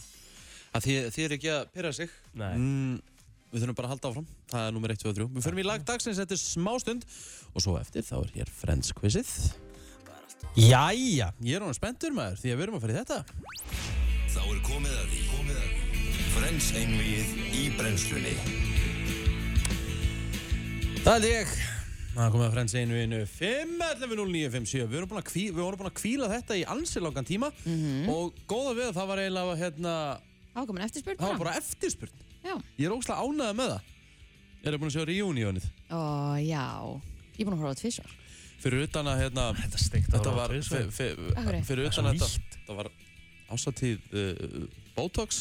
A: að þið, þið er ekki að pyrra sig
B: Nei,
A: mm, Við þurfum bara að halda áfram Það er nummer 1, 2 og 3 Við förum í lag dagsins eftir smástund Og svo eftir þá er hér Friends quizið Jæja, ég er honum spenntur maður Því að við erum að fara í þetta
E: Þá er komið að því komið að því. Frens einvið í brennslunni
A: Það er ég Það er komið að Friends einu einu 511957 Við vorum búin að, kví, við vorum búin að kvíla þetta í ansi langan tíma
C: Mm. Mhm.
A: Og góða við að það var eiginlega hérna,
C: Ákomin eftirspurn
A: Það var
C: bara
A: bara eftirspurn
C: Já,
A: Ég er ógslag ánæða með það Erum búin að sjá reunionið
C: Ó, já Ég er búin að horfa á tvisvar
A: Fyrir utan að hérna
B: þetta steikt
A: Þetta var
B: Það
A: fyr-
B: var
A: fyr-
C: Af hverju?
A: fyrir
B: svo
A: utan þetta
B: nýtt.
A: þetta var ásatíð uh, Botox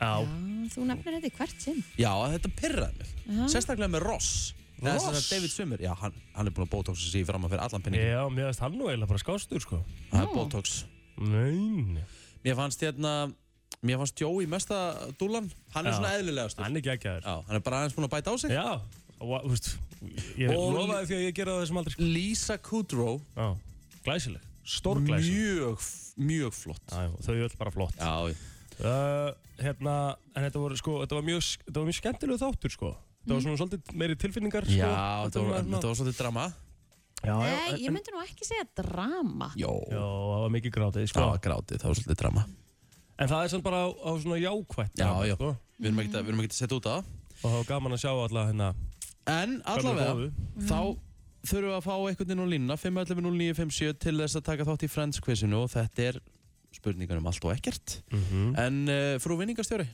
B: Já,
C: Já, þú nefnir þetta í hvert sinn
A: Já, þetta pirraði mig
C: Já.
A: Sérstaklega með Ross Eða sem
B: Ross?
A: sagt David Swimmer Já, hann, hann er búin að Botoxa sig fram að fyrir allan penning
B: já mér veist hann nú eiginlega bara skástur, sko
A: Það er Botox
B: Nein
A: Mér fannst hérna Mér fannst Joey mesta dúlan Hann er
B: Já.
A: svona eðlilegastur
B: Hann er geggjaður
A: Já, hann er bara aðeins búin að bæta á sig
B: Já, og þú veist Ég
A: Og-
B: lofaði því að ég gera það þessum aldrei, sko
A: Lisa Kudrow
B: Já, glæsileg Stórglæsileg
A: Mjög, mjög flott
B: Já, já, þau öll bara flott
A: Já,
B: uh, hérna, En þetta voru, sko, þetta var mjög, þetta var mjög skemmtilegu þáttur, sko Þetta var svona svolítið meiri tilfinningar, sko
A: já þetta var,
B: svona-
A: þetta var svolítið drama
B: Já, já,
C: Nei,
B: en-
C: ég myndi nú ekki segja drama
A: Jó,
B: Já, það var mikið grátið, sko.
A: það var grátið, það var svolítið drama
B: En það er samt bara á, á svona jákvætt.
A: Já,
B: drama,
A: já.
B: Sko.
A: Við erum ekkert að- við erum ekkert að setja út á það
B: Og það var gaman að sjá alla hérna.
A: En allavega, þá þurfum við að fá einhvern veginn á línuna 511957 til þess að taka þátt í Friends quizinu og þetta er spurningar um allt og ekkert
B: Mhm.
A: En uh, frú vinningastjóri,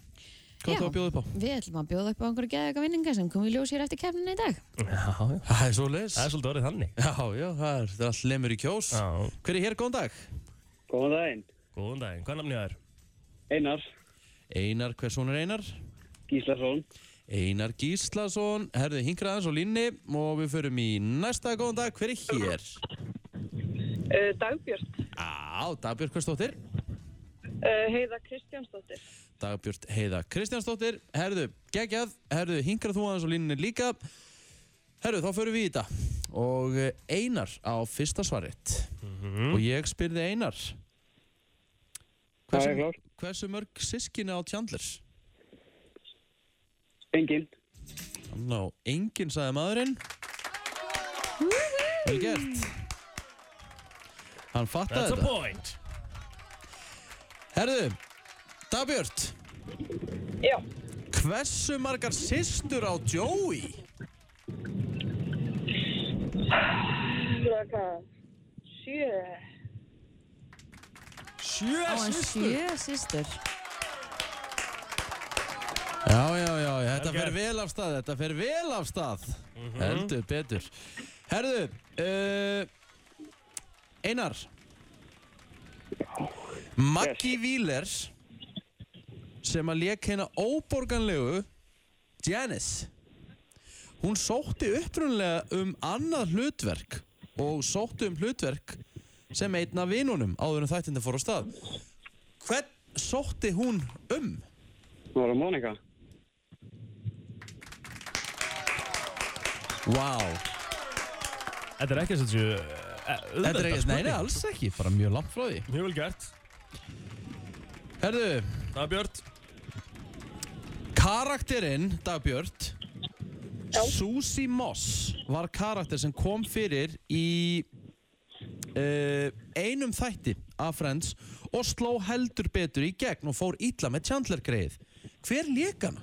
A: hvað
C: Já.
A: ætlum við að bjóða upp á?
C: Við ætlum að bjóða upp á einhverju geðega vinninga sem kom í ljós hér eftir kefninu í dag
B: Já, já.
A: Það er svo leis
B: Það er svolítið orðið þannig.
A: Já, já, það er, það er allt lemur í kjós
B: Já.
A: Hver er hér, góðan dag?
F: Góðan daginn.
B: Góðan daginn, hvað namni það er?
F: Einar
A: Einar, hver son er Einar?
F: Gíslason.
A: Einar Gíslason, herðu hinkraðans og línni og við förum í næsta góðan dag, hver er hér?
G: Uh, Dagbjörn,
A: Á, Dagbjörg Hversdóttir
G: uh, Heiða Kristjánsdóttir.
A: Dagbjörn Heiða Kristjánsdóttir Herðu, geggjað, herðu, hingrað þú aðeins og línni líka Herðu, þá förum við í þetta Og eh, Einar á fyrsta svarit
F: Mhm.
A: Og ég spyrði Einar
F: Það er
A: Hversu,
F: klart.
A: hversu mörg sískinni á Chandler?
F: Engin.
A: Ná, enginn sagði maðurinn Vel gert Hann fattaði
B: That's a
A: þetta
B: point.
A: Herðu, Dagbjörn
G: Já,
A: Hversu margar systur á Joey?
G: þú er hvað? Sjö.
B: Sjö
C: Á hann
B: sýstur.
C: sjö sýstur.
A: Já, já, já, þetta fer
B: Vel gert. Mhm.
A: vel af stað, þetta fer vel af stað. Heldur betur. Herðu, uh, Einar. Maggi Vílers, sem að lék hérna óborganlegu, Janice. Hún sótti upprunlega um annað hlutverk og sótti um hlutverk sem einn af vinunum áður en þættinda fór á stað. Hvern sótti hún um?
F: Það var að Mónika.
A: Vá.
B: Þetta er ekki að setja sér
A: Þetta er ekki, nei, nei, alls ekki, bara mjög langt frá því.
B: Mjög vel gert.
A: Herðu,
B: Dagbjörn.
A: karakterinn, Dagbjörn, Susie Moss var karakter sem kom fyrir í uh, einum þætti af Friends og sló heldur betur í gegn og fór illa með Chandler greið. Hver lék hana?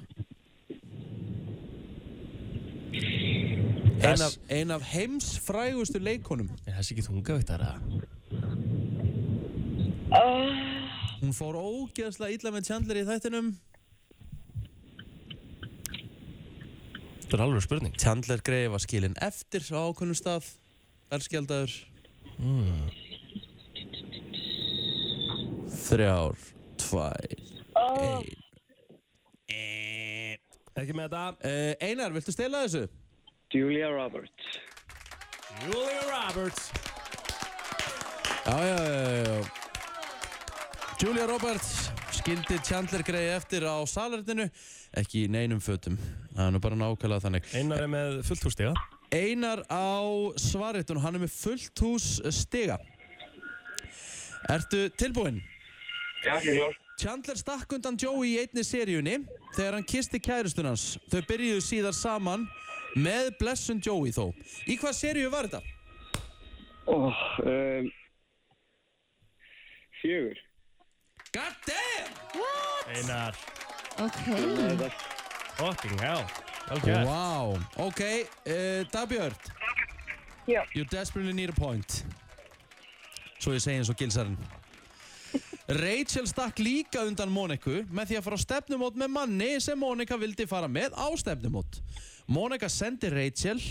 A: Ein af,
B: Þess-
A: ein af heimsfrægustu leikonum.
B: Er þessi ekki þungavittara?
A: Hún fór ógeðslega illa með Chandler í þættinum.
B: Þetta er alveg spurning.
A: Chandler Grey var skilinn eftir á ákunnum stað Elskjaldagur Hmm. Þrjár, tvær, ein
B: Ekki með þetta.
A: uh, Einar, viltu stela þessu?
F: Julia Roberts.
B: Julia Roberts.
A: Já, já, já, já Julia Roberts skildi Chandler Grey eftir á salertinu ekki í neinum fötum það er nú bara nákvæmlega þannig
B: Einar er með fullt hús stiga.
A: Einar á svaritun hann er með fullt hús stiga Ertu tilbúinn?
F: Já, ekki klart.
A: Chandler stakk undan Joey í einni seríunni þegar hann kisti kæristun hans. Þau byrjuðu síðar saman með blessun Joey þó. Í hvað seríu var þetta?
F: Oh, um, fjögur.
A: God damn!
B: Einar.
C: Ok.
B: Fucking hell. Vel gert.
A: Wow. Ok, uh, Dabjörn.
G: Já.
A: You desperately need a point. Svo ég segi eins og gilsarinn. Rachel stakk líka undan Moniku með því að fara á stefnumót með manni sem Monika vildi fara með á stefnumót. Monika sendi Rachel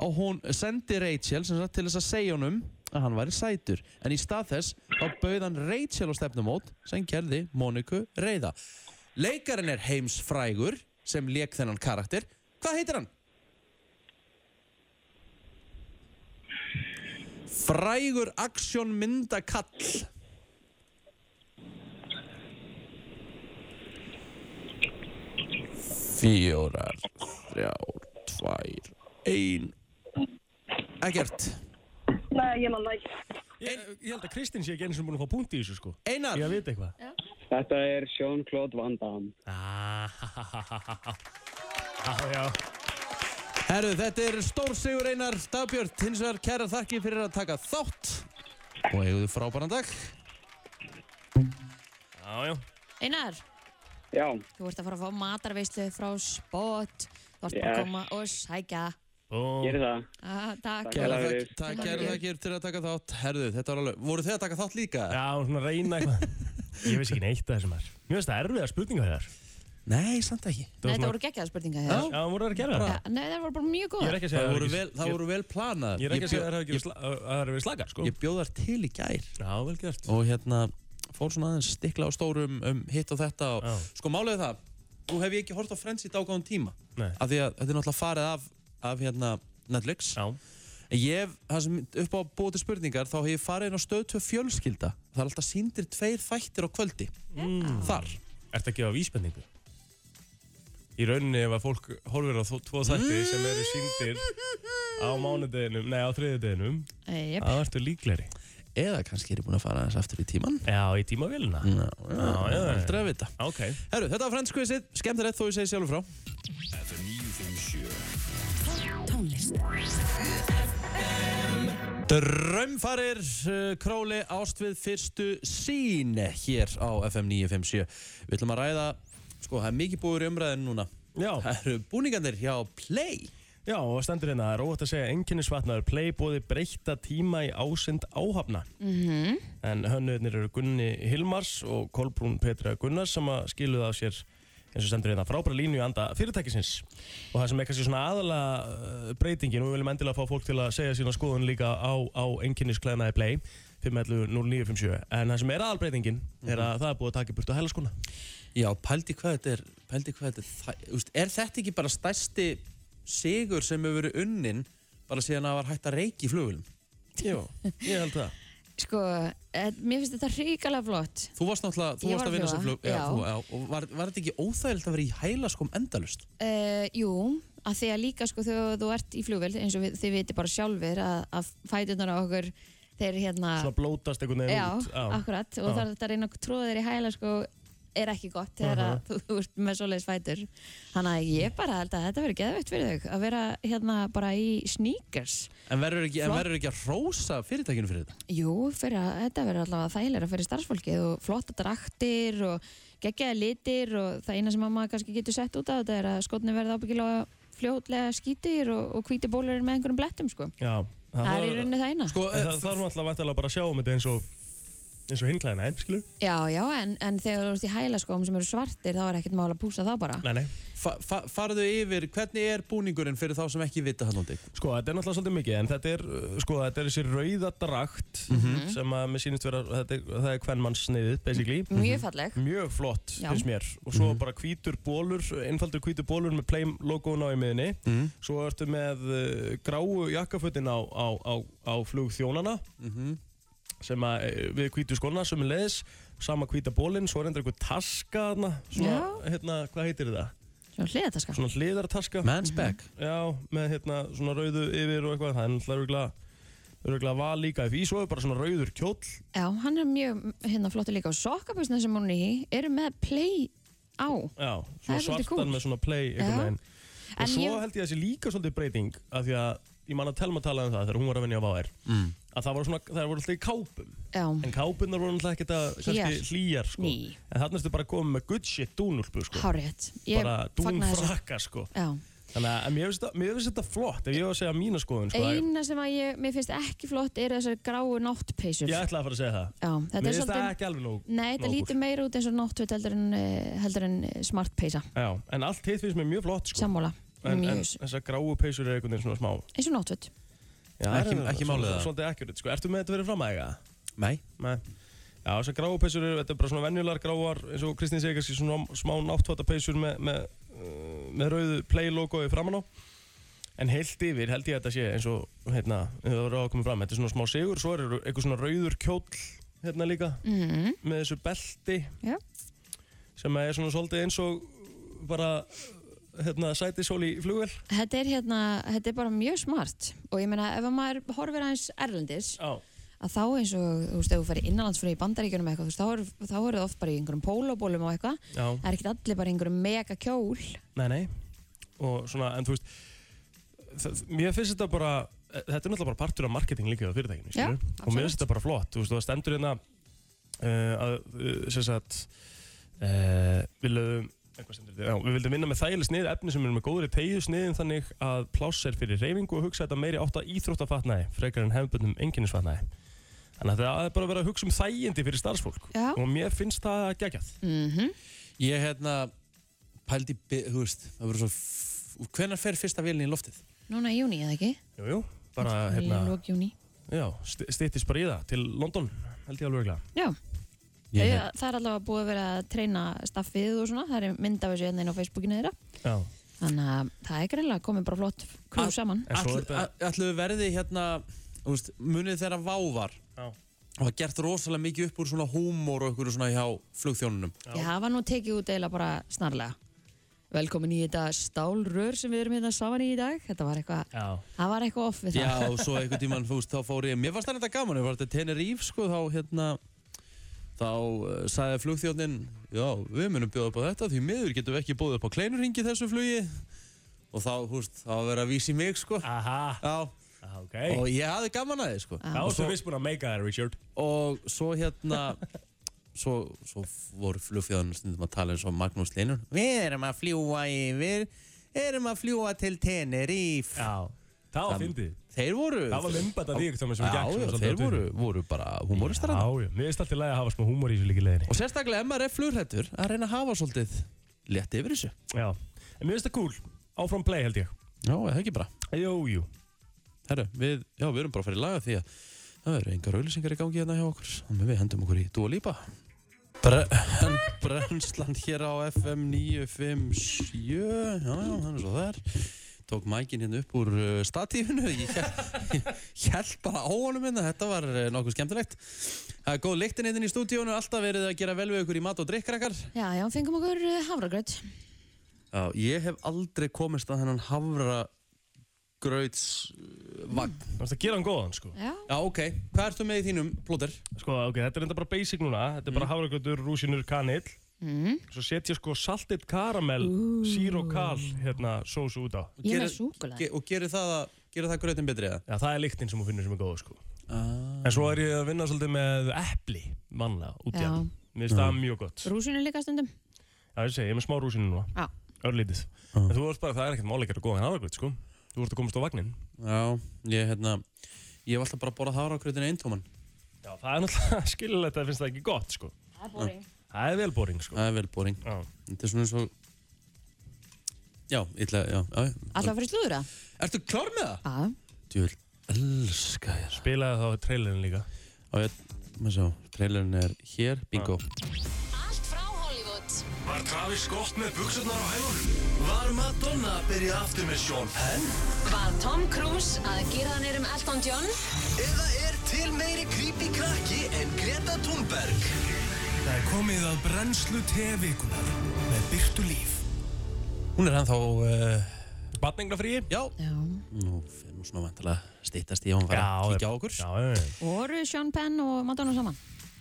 A: og hún sendi Rachel sem sagt til þess að segja honum að hann væri sætur. En í stað þess þá bauð hann Rachel á stefnumót sem gerði Moniku reyða. Leikarinn er Heims Frægur sem leik þennan karakter. Hvað heitir hann? Frægur aksjónmyndakall. Fjórar, þrjár, tvær, ein Ekkert
G: Nei, ég manna ekki.
B: Ég, ég held að Kristinn sé ekki eins og búin að fá punkt í þessu sko.
A: Einar,
B: Ég að vita eitthvað.
F: Þetta er Jean-Claude Van Damme.
B: Ah, ha, ha, ha, ha, ha. Já, já.
A: herru, þetta er stór sigur Einar Dagbjörn, hins vegar kæra þakki fyrir að taka þátt og eigðu frábæran dag
B: Já, já.
C: Einar,
F: Já,
C: þú ert að fara að fá matarveislu frá spott. Þú ert bara
F: Yes.
C: að koma og sækja.
B: Búm.
F: gerir það.
C: Ah, takk.
F: Takk.
A: Kæra
F: Takk
A: þakki
F: fyrir.
A: takk, kæra þakki fyrir að taka þátt Herru, þetta var alveg, voru þið að taka þátt líka?
B: Já, svona reyna eitthvað. Ég veist ekki neitt að þessum þar. Mér finnst það erfiða spurninga þér.
A: Nei, samt ekki
C: Nei, þetta voru geggjaða spurningar
A: Já.
C: þér.
B: Já, voru það að gera það?
C: Ja, nei, það voru bara mjög
B: Ég
C: góð.
B: er ekki að
A: Það
B: segja að
A: voru
B: hafi
A: vel,
B: ekki-
A: það voru vel planað
B: Ég er ekki að segja sko. að
A: bjó-
B: það hafi ekki verið sla- að það hafi verið slakar, sko.
A: ég bjóð þar til í gær
B: Já, vel gert.
A: og hérna fór svona aðeins stikla á stórum um hitt og þetta og
B: Já.
A: sko málið er það, nú hef ég ekki hort á Friends í dágáðum tíma
B: Nei.
A: af því að þetta er náttúrulega farið af, af hérna Netflix
B: Já.
A: En ég hef, það sem upp á búið til spurningar, þá hef ég farið inn á stöð 2 fjölskylda. Það er alltaf síndir tveir þættir á kvöldi. Mm. Þar.
B: Ertu að gefa vísbendingu? Í rauninni ef að fólk horfir á þó- tvo þætti sem eru síndir á mánudeginum, nei á þriðudeginum,
C: Jep.
B: þá ertu líkleri.
A: Eða kannski er ég búin að fara aðeins aftur í tíman.
B: Já, í tímavélina. Mm. Já, já, já.
A: Aldrei að vita.
B: Ok.
A: Herru, þetta var frendskvissið. Skemmt er rétt þó ég segi sjálfur frá.
E: FM 957
A: Drömmfarir, uh, króli, ást við fyrstu sín hér á FM 957. Við ætlum að ræða, sko, það er mikið búið í umræðinu núna.
B: Já.
A: Það eru búningarnir hjá Play.
B: Já, og stendur hérna, það er óvægt að segja enginnisvatnaður play bóði breyta tíma í ásend áhafna. Mm
C: Mhm.
B: -hmm. En hönnuðnir eru Gunni Hilmars og Kolbrún Petra Gunnars sem að skiluðu af sér eins og stendur hérna frábæra línu í anda fyrirtækisins. Og það sem er kannski svona aðalega uh, breytingin, og við viljum endilega fá fólk til að segja sína skoðun líka á, á enginnisklæðnaði play, 511-0957. En það sem er aðalbreytingin er að það er búið að taka í burtu helaskona.
A: Já, pældi hvað þetta er, pældi hvað þetta er, þæ- úst, er þetta ekki bara stærsti sigur sem hefur verið unnin bara síðan að það var hægt að reiki í flugulum?
B: Jó, ég held það.
C: Sko, eh, mér finnst þetta hrikalega flott.
A: Þú varst náttúrulega, þú
C: Ég
A: varst
C: var
A: að vinna
C: að
A: sem flug,
C: fljúga, já.
A: þú, já og var, var þetta ekki óþægilegt að vera í hælaskom endalust?
C: Uh, jú, að því að líka sko þegar þú ert í flugvél, eins og við, þið viti bara sjálfur að, að fætunar á okkur, þeir hérna...
B: Svona blótast einhvern veginn
C: Já,
B: út.
C: akkurat, og
B: Já.
C: það er þetta að reyna að tróða þér í hæla sko, er ekki gott þegar að þú, þú ert með svoleiðis fætur þannig að ég bara held að þetta verður geðveikt fyrir þau að vera hérna bara í sneakers
A: En verður ekki, en
C: Flott.
A: verður ekki að rósa fyrirtækinu fyrir þetta?
C: Jú, fyrir að þetta verður allavega þægilega fyrir starfsfólkið og flotta draktir og geggjaða litir og það eina sem að maður kannski getur sett út á þetta er að skotni verða ábyggilega fljótlega skítir og, og hvíti bólurinn með einhverjum blettum sko.
B: Já.
C: það er í
B: var-
C: rauninni það eina
A: Sko,
B: En það þarf náttúrulega vantilega bara að sjá um þetta eins og eins og hinklæðina, einn, skilur?
C: Já, já, en, en þegar þú ert í hæla sem eru svartir þá er ekkert mál að púsa það bara
B: Nei, nei.
A: fa fa farðu yfir, hvernig er búningurinn fyrir þá sem ekki vita hann úti?
B: Sko, þetta er náttúrulega svolítið mikið, en þetta er, uh, sko, þetta er þessi rauða drakt sem að mér sýnist vera, þetta er, það er hvernmannssniðið, basically.
C: Mjög falleg
B: Mjög flott,
C: Já.
B: finnst mér. Og svo bara hvítur bólur, einfaldur hvítur bólur með play logoðun á í miðinni. Svo ertu með uh, gráu jakkafötin á, á, á, á flugþjónana,
A: Mhm.
B: sem að eh, við hvítu skona, sem er leiðis, sama hvíta bólinn, svo er enda einhver taska, þarna, svona, hérna, hvað heitir það?
C: Svona hliðataska
B: svona hliðartaska
A: Man's back.
B: já, með hérna svona rauðu yfir og eitthvað, það er náttúrulega örugglega- örugglega val líka í því, svo er bara svona rauður kjóll
C: Já, hann er mjög hérna flottur líka og sokkabusna sem hún er í eru með play á
B: já,
C: Það
B: svona
C: er svolítið
B: svartan
C: kúl.
B: með svona play einhvern
C: Já.
B: veginn og
C: En
B: svo
C: ég-
B: held ég að þessi líka svolítið breyting af því að ég man að telma tala um það þegar hún var að vinja á VAR mm. að það voru svona, það voru alltaf í kápum
C: Já,
B: en kápunar voru alltaf ekkert að
C: Hlýjar.
B: kannski hlýjar sko,
C: Ný.
B: en þarna erstu bara að koma með good shit dúnulpu sko,
C: hárétt Ég
B: bara
C: fagna þessu
B: dúnfrakka sko
C: Já.
B: þannig að en mér finnst þetta- mér finnst þetta flott ef ég var að segja mína skoðun sko, að-
C: Eina sem að ég, mér finnst ekki flott eru þessar gráu náttpeysur
B: Ég ætlaði að fara að segja það.
C: Já, þetta
B: Mér
C: er
B: finnst það
C: svolítið
B: ekki alveg nóg.
C: Nei, þetta
B: nóg
C: lítur meira út eins og náttföt heldur en, eh, heldur en eh, smart peysa
B: úr. Já, en allt hitt finnst mér mjög flott, sko.
C: Sammála,
B: en,
C: mjög
B: en þessar gráu peysur er einhvern veginn svona smá.
C: eins og náttföt
B: Já,
A: Ekki- ekki málið það.
B: Svolítið ekkert, sko. Ertu með þetta verið fram að eiga?
A: Nei.
B: Nei. Já, þessar gráu peysur eru, þetta er bara svona venjulegar gráar, eins og Kristín segir kannski svona smá náttfata peysur með, með, uh, með rauðu play logoði framan á. En heilt yfir held ég að þetta sé eins og, hérna, ef það voru að koma fram, þetta er svona smá sigur, svo er eitthvað svona rauður kjóll, hérna líka,
C: mm.
B: með þessu belti
C: Já.
B: sem er svona svolítið eins og bara hérna, sæti sól í flugvel
C: Þetta er hérna, þetta er bara mjög smart og ég meina ef að maður horfir aðeins erlendis
B: Já,
C: að þá eins og, þú veist, ef þú færi innanlandsfröð í bandaríkjunum eitthvað, þú veist, þá eru- þá eru það oft bara í einhverjum pólóbólum og eitthvað
B: já,
C: það er ekkert allir bara í einhverjum mega kjól
B: nei, nei og svona, en þú veist það, mér finnst þetta bara þetta er náttúrulega bara partur af marketing líka á fyrirtækinu
C: Já,
B: skilurðu? og mér
C: absolutt.
B: finnst þetta bara flott, þú veist, það stendur hérna uh, að, uh, sem sagt uh, við lögum eitthvað stendur þetta, já, við vildum vinna með þægileg snið efni sem er með góðri tegju sniðin þannig að pláss er fyrir reyfingu og hugsa þetta meiri átt að íþróttafatnaði frekar en hefbundum enginnisfatnaði þannig að það er bara að vera að hugsa um þægindi fyrir starfsfólk
C: Já.
B: og mér finnst það geggjað
C: mm
A: Ég hérna, pældi, bi- þú veist, það verður svo, hvenar fer fyrsta vélinn í loftið?
C: Núna í júni eða ekki?
B: Jú, jú, bara hérna
C: Lók júni
B: Já, styttist bara í það til London held ég alveg regla
C: Já,
B: Ég-
C: Þau- Það er allavega búið að vera að treyna staffið og svona, það er mynd af þessu hérna inn á Facebookinu þeirra.
B: Já.
C: Þannig að það er greinlega komið bara flott krú
A: Að-
C: saman.
B: En svo er
A: Ætl-
B: þetta-
A: a- Ætluðu verði hérna, þú veist, munið þeirra vávar
B: Já.
A: og það gert rosalega mikið upp úr svona húmór og ykkur svona hjá flugþjónunum.
C: Ég hafa nú tekið út eiginlega bara snarlega. Velkomin í þetta stálrör sem við erum hérna saman í í dag. Þetta var eitthvað,
B: Já.
C: það var eitthvað off við
A: Já,
C: það.
A: og svo einhvern tímann, þú veist, þá fór ég, mér fannst þetta gaman, ég var þetta Tenerife, sko, þá hérna, þá uh, sagði flugþjónin, já, við munum bjóða upp á þetta, því miður getum við ekki búið upp á kleinurringi þessu flugi og þá, þú veist, þá var verið að vísi mig, sko,
B: Aha,
A: já,
B: ah, ok.
A: og ég hafði gaman að þið, sko,
B: Þá ertu viss búin að meika það, Richard.
A: og svo hérna svo, svo voru flugfjöðan stundum að tala eins og Magnús Leinur við erum að fljúa yfir erum að fljúa til Tenerife
B: Já. Það var fyndið.
A: þeir voru
B: Það var mymband að því ekkert þannig sem
A: já,
B: við gekkum.
A: já, þeir voru, voru bara humoristar
B: Já,
A: þarna.
B: já. Mér finnst alltaf læg að hafa smá húmor í þessu líki leiðinni.
A: og sérstaklega ef maður er flugrættur að reyna að hafa svolítið létt yfir þessu
B: Já. En mér finnst það cool. Áfram play held ég.
A: já, það ekki bara
B: Jú, jú.
A: Herru, við, já, við erum bara að fara í laga því að það verður engar auðlýsingar í gangi hérna hjá okkur og við hendum okkur í Dua Lipa Bre en Brennsland hér á FM 957 já, já, hann er svo þar tók mækin hérna upp úr uh, statífinu ég held bara á honum hérna þetta var uh, nokkuð skemmtilegt það er góð lyktin hérna í stúdíónu alltaf verið að gera vel við ykkur í mat og drikkrakkar
C: Já, já, fengum okkur eh, hafragröð.
A: já, ég hef aldrei komist að hennan havra grautsvagn
B: Það finnst að gera hann góðan, sko.
C: Já,
A: Já, ok. Hvað ertu með í þínum, plóter?
B: Sko, ok, þetta er enda bara basic núna. Þetta er bara hafragröður, rúsinur, kanill.
C: mm.
B: Svo setja sko saltitt karamell, sír og kal, hérna, sósu út á.
C: ég
A: Gera-
C: er með súkulega.
A: Ge og gerir það, að- gerir það grötin betri eða?
B: Já, það er líktinn sem hún finnur sem er góð, sko.
A: Ah.
B: En svo er ég að vinna svolítið með epli, manna, út í
C: Já.
B: hann. Mér finnst það mjög gott.
C: Rúsinu líka stundum.
B: Já, ég segi, ég er með smá rúsinu núna.
C: Já.
B: Örlítið.
A: Ah.
B: En þú veist bara, það er ekkert máleikar að góða henni aðragröð, sko. Þú ert að komast á vagnin.
A: Já, ég hérna, ég hef alltaf bara borðað hafragrötin eintóman.
B: Já, það er náttúrulega skilulegt að það finnst það ekki gott, sko.
C: Það er boring.
B: Það er vel boring, sko.
A: Það er vel boring.
B: Já.
A: Þetta er svona eins og... Já, illa, já, já. já.
C: Alltaf fyrir slúðra?
A: Ertu klár með það?
C: Já.
A: Djúvel, elska ég það.
B: Bilaði þá trailerin líka.
A: Á ég, maður sjá, trailerin er hér, bingo.
D: Allt frá Hollywood
E: Var Travis Scott með buksurnar á hælunum? Var Madonna að byrja aftur með Sean Penn?
D: Var Tom Cruise að gera hann erum Elton John?
E: Eða er til meiri creepy krakki en Greta Thunberg? Það er komið að brennslu tevikunar með Byrtu Líf.
A: Hún er hann þá, uh,
B: Batningafríi?
A: já.
C: Já.
A: Nú, fyrir nú svona vantilega stýttast í að hún var að
B: Já,
A: kíkja á okkur.
B: Já, já, já.
C: Voru Sean Penn og Madonna saman?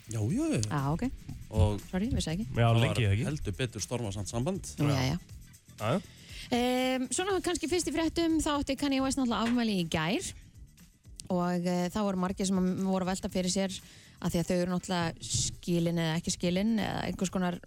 A: já, já. já.
C: Já, ok.
A: Og
C: Sorry, vissi það ekki.
B: Já,
A: það
B: lengi
A: var
B: eða ekki.
A: heldur betur stormasamt samband.
C: Nú, já, já.
B: Já, já.
C: Um, svona kannski fyrst í fréttum þá átti Kanye West náttúrulega afmæli í gær og uh, þá voru margir sem voru að velta fyrir sér að því að þau eru náttúrulega skilin eða ekki skilin eða einhvers konar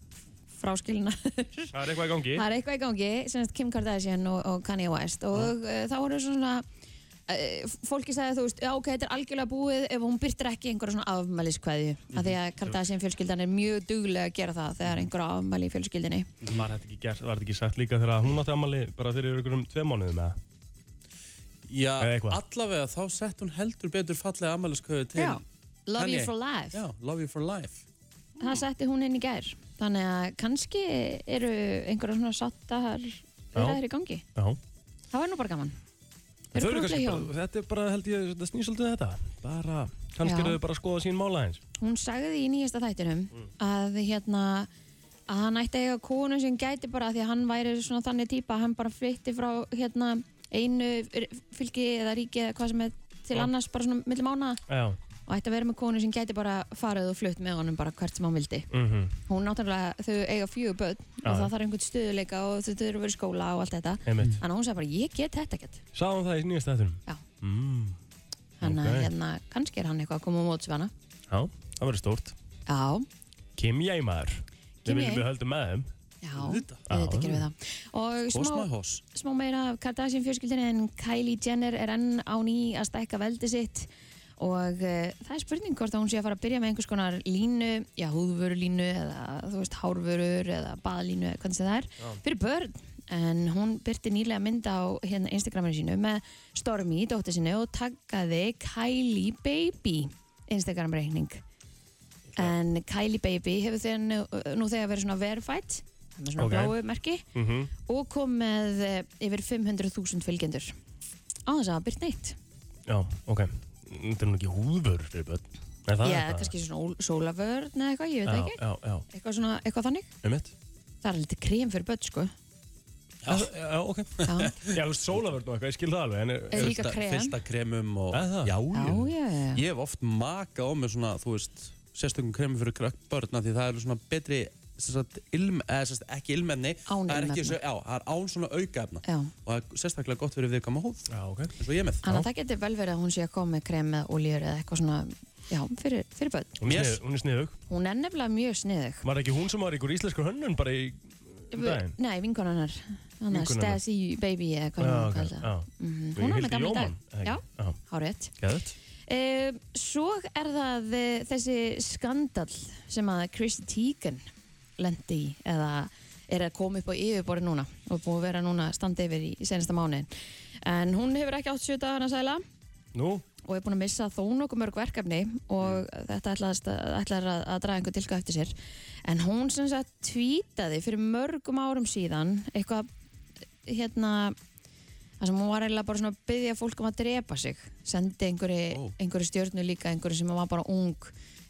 C: fráskilina það
B: Það er eitthvað í gangi.
C: er eitthvað í gangi, sem sagt Kim Kardashian og, og Kanye West og uh, þá voru svona uh, fólki sagði þú veist, já ok, þetta er algjörlega búið ef hún byrtir ekki einhverja svona afmæliskveðju af því að Kardashian fjölskyldan er mjög duglega að gera það þegar einhverja afmæli í fjölskyldinni
B: Var þetta ekki, gert, var þetta ekki sagt líka þegar hún átti ammali bara fyrir einhverjum tveim mánuðum eða?
A: Já,
B: Eða eitthvað.
A: allavega þá sett hún heldur betur fallega ammælisköðu til
C: Já. Love you
A: Kanye.
C: for life
A: Já, Love You For Life
C: það setti hún inn í gær þannig að kannski eru einhverja svona sattar viðræðir í gangi
B: Já.
C: það var nú bara gaman
B: Þau
C: Þau
B: eru
C: eru
B: kannski
C: krúttleg
B: bara, þetta er bara held ég, þetta snýr svolítið þetta. Bara, kannski
C: Já.
B: eru þau bara að skoða sín mála eins.
C: hún sagði í nýjasta þættinum
B: Mm.
C: að hérna að hann ætti að eiga konu sem gæti bara því að hann væri svona þannig típa að hann bara flytti frá hérna einu r- fylki eða ríki eða hvað sem er til
B: Já.
C: annars bara svona millum ána
B: Já.
C: og ætti að vera með konu sem gæti bara farið og flutt með honum bara hvert sem hann vildi
B: Mm
C: hún náttúrulega þau eiga fjögur börn
B: Já.
C: og það þarf einhvern stöðuleika og þau þau eru verið í skóla og allt þetta
B: Einmitt.
C: Þannig að hún sagði bara, ég get þetta ekkert.
B: Sá hún Mm. það í nýjast þettunum?
C: Já.
B: Mm.
C: Þannig að
B: Ok.
C: hérna, kannski er hann eitthvað að koma á móts við hana.
B: Já, það verður stórt.
C: Já,
B: Kim Jæ maður.
C: Kim
B: Við
C: Jæ.
B: viljum við höldum með þeim.
C: já,
A: Auðvitað.
C: þetta gerum við það. Og
A: og smá
C: smá,
A: hós
C: smá meira af Kardashian fjölskyldinni en Kylie Jenner er enn á ný að stækka veldi sitt og uh, það er spurning hvort að hún sé að fara að byrja með einhvers konar línu, já, húðvörulínu eða, þú veist, hárvörur eða baðlínu, eða hvernig sem það er, fyrir börn. En hún byrti nýlega mynd á hérna Instagraminu sínu með Stormi, dóttir sinu, og taggaði Kylie Baby Instagram reikning. en Kylie Baby hefur þegar nú, nú þegar verið svona verified það er með svona
B: Ok.
C: bláu merki
B: Mhm.
C: og kom með eh, yfir 500.000 fylgjendur á þess að hafa byrt neitt
B: Já, ok. Þetta er nú ekki húðvörur fyrir börn. Er það
C: ég, kannski svona ól- sólavörn eða eitthvað, ég veit það
B: Já,
C: ekki
B: já, já,
C: eitthvað, svona, eitthvað þannig,
B: um mitt.
C: það er lítið krem fyrir börn sko
B: Já, já, ok.
C: já,
B: Já, þú veist, sólavörn og eitthvað, ég skil það alveg, en...
C: Eh, líka
A: Fyllt-
C: krem.
A: Fyllt af kremum og...
B: Er það?
A: Já,
C: já,
A: já.
C: já, já.
A: Ég hef oft maka á mig svona, þú veist, sérstökum kremum fyrir krakkbörna því það eru svona betri sem sagt, ilm, eða sérst, ekki ilmefni
C: Án
A: það er ekki
C: ilmefna.
A: svo- Já, það er án svona aukaefna
C: Já.
A: og það er sérstaklega gott fyrir viðkama hóð
B: Já, ok.
A: eins og ég er með
C: Þannig að það getur vel verið að hún sé að koma með krem með oljur eða eitthvað svona, já, fyrir, fyrir börn.
B: Hún
A: Mér-
B: er, snið, hún er sniðug.
C: Hún er nefnilega mjög sniðug.
B: Var ekki hún sem var ykkur íslenskur hönnun bara í... um daginn?
C: Nei, vinkonan hennar. Þannig
B: Vinkonan hennar.
C: að Stasi Baby eða hvað
B: Já,
C: hún
B: ok,
C: kallar
B: já.
C: það. Mhm,
B: Ég
C: Hún er
B: hildi
C: með gamla í dag.
B: Jómann, eða
C: Já,
B: ekki? Já.
C: hárétt.
B: Gæðut.
C: Uh, svo er það eh, þessi skandal sem að Chrissy Teigen lendi í eða er að koma upp á yfirborði núna og er búið að vera núna standi yfir í senasta mánuðin. En hún hefur ekki átt 7 dagana sæla
B: Nú,
C: og er búin að missa þó nokkuð mörg verkefni og þetta ætlaðist að- ætlar að, að draga einhver tilka eftir sér en hún sem sagt tvítaði fyrir mörgum árum síðan eitthvað hérna það sem hún var eiginlega bara svona að byggja fólk um að drepa sig sendi einhverju,
A: Ó.
C: einhverju stjörnu líka einhverju sem var bara ung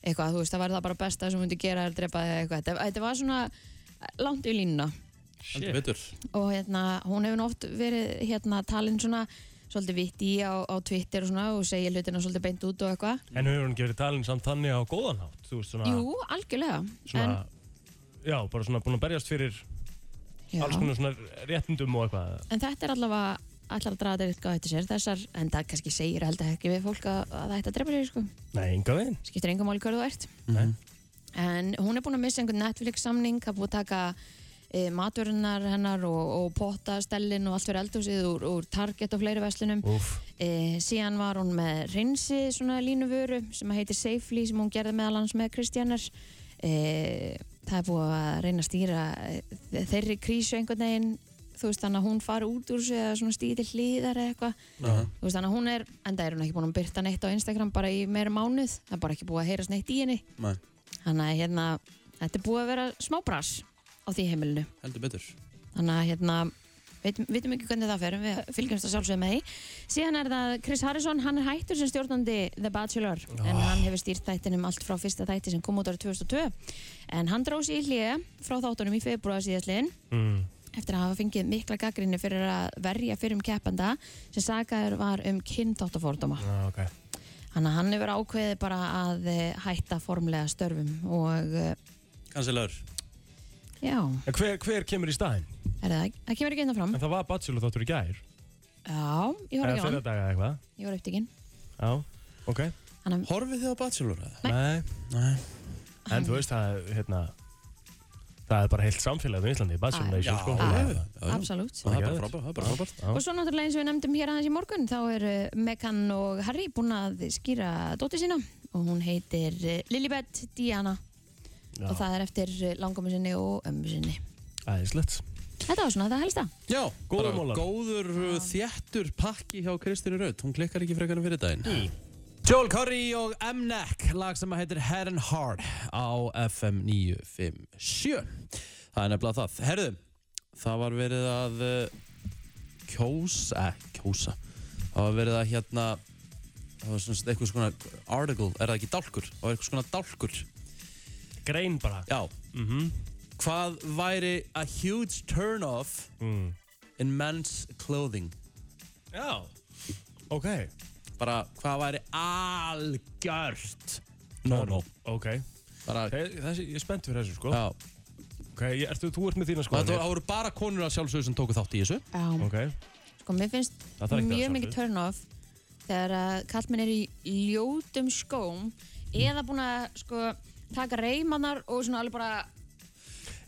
C: eitthvað, þú veist, það var það bara besta sem hún myndi gera er að drepa þig eða eitthvað, þetta, þetta var svona langt í línuna
A: Heldur betur.
C: og hérna, hún hefur nú oft verið hérna talin svona svolítið vitti á, á Twitter og svona og segja hlutina svolítið beint út og eitthvað
B: en hefur hún ekki verið talin samt þannig á góðan hátt? Þú veist, svona...
C: Jú, algjörlega
B: Svona... Já, bara svona búin að berjast fyrir
C: já.
B: alls konar svona réttindum og eitthvað.
C: en þetta er allavega allar að draga þetta eitthvað eftir sér þessar, en það kannski segir held að ekki við fólk að, að það ætti að drepa sér sko.
B: Nei, enga veginn.
C: skiptir enga máli hver þú ert
B: Nei.
C: en hún er búin að missa einhvern Netflix samning það er búið að taka e, matverunar hennar og, og pottastellin og allt fyrir eldhúsið úr, úr Target og fleiri veslunum
B: Úff.
C: e, síðan var hún með reynsi svona línuvöru sem heitir Safely sem hún gerði meðal hans með Kristjánir e, það er búið að reyna að stýra eh, þeirri krísu einhvern veginn þú veist þannig að hún fari út úr sig eða svona stýði til hlýðar eða eitthvað þú veist þannig að hún er, enda er hún ekki búin að byrta neitt á Instagram bara í meira mánuð það er bara ekki búið að heyrast neitt í henni
A: Nei,
C: þannig að hérna, þetta er búið að vera smá brás á því heimilinu
A: heldur betur.
C: þannig að hérna veitum, veitum ekki hvernig það fer en við fylgjumst að sjálfsögum með því síðan er það Chris Harrison, hann er hættur sem stjórnandi The Bachelor en hann hefur stýrt þættinum allt frá fyrsta þætti sem kom út árið 2002 en hann dróð sér í hliða frá þáttunum í februar síðastliðin
B: Mm.
C: eftir að hafa fengið mikla gaggrinni fyrir að verja fyrir um keppanda sem sagaður var um kynþáttafórdóma
B: Já, ok.
C: þannig að hann hefur ákveðið bara að eh, hætta formlega störfum og eh,
A: Kansilegur.
C: já,
B: En hver, hver kemur í staðinn?
C: er það, það kemur ekki einna fram
B: En það var bachelor þáttur í gær.
C: já, ég var
B: Eða
C: ekki á
B: fyrir
C: hann,
B: daga eða eitthvað.
C: ég var upptíkin
B: Já, ok.
C: Þannig að
A: Horfið þið á Bachelor eða?
B: Nei.
A: Nei.
B: En þú veist, það, er, hérna, það er bara heilt samfélag á Íslandi, Bachelor
C: Ah, Já.
B: Nation, sko.
A: já, já, já. já.
C: Absolutt.
A: Það er bara frábært, það er bara frábært.
C: Og svo náttúrulega eins og við nefndum hér aðeins í morgun þá er eh, Megan og Harry búin að skýra dóttir sína og hún heitir eh, Lilibet Diana og það er eftir langamu sinni og ömmu sinni.
B: Æðislegt.
C: Þetta var svona það helsta.
A: Já,
B: Góður
A: bara
B: málar.
A: góður uh, þéttur pakki hjá Kristínu Raut, hún klikkar ekki frekar en fyrir daginn. Joel Curry og M-Neck, lag sem að heitir Head and Heart á FM 957. Það er nefnilega það. Herðu, það var verið að uh, kjósa, eh, kjósa, það var verið að hérna, það var svona eitthvað svona article, er það ekki dálkur? Það var eitthvað svona dálkur.
B: Grein bara.
A: Já. Hvað væri a huge turn off
B: Mm.
A: in men's clothing?
B: Já. Ok.
A: Bara hvað væri algjört? No, no.
B: Ok.
A: Bara,
B: Þe- Þessi, ég er spennt fyrir þessu, sko.
A: já.
B: Ok, ég, ertu, þú ert með þína sko.
A: Það það voru bara konur að sjálfsögðu sem tóku þátt í þessu.
C: Já.
B: Ok.
C: Sko mér finnst
B: Það þarf ekki að
C: mjög
B: sjá
C: mikið
B: fyrir.
C: turn off þegar að kallmenn er í ljótum skóm eða búin að sko taka reymanar og svona alveg bara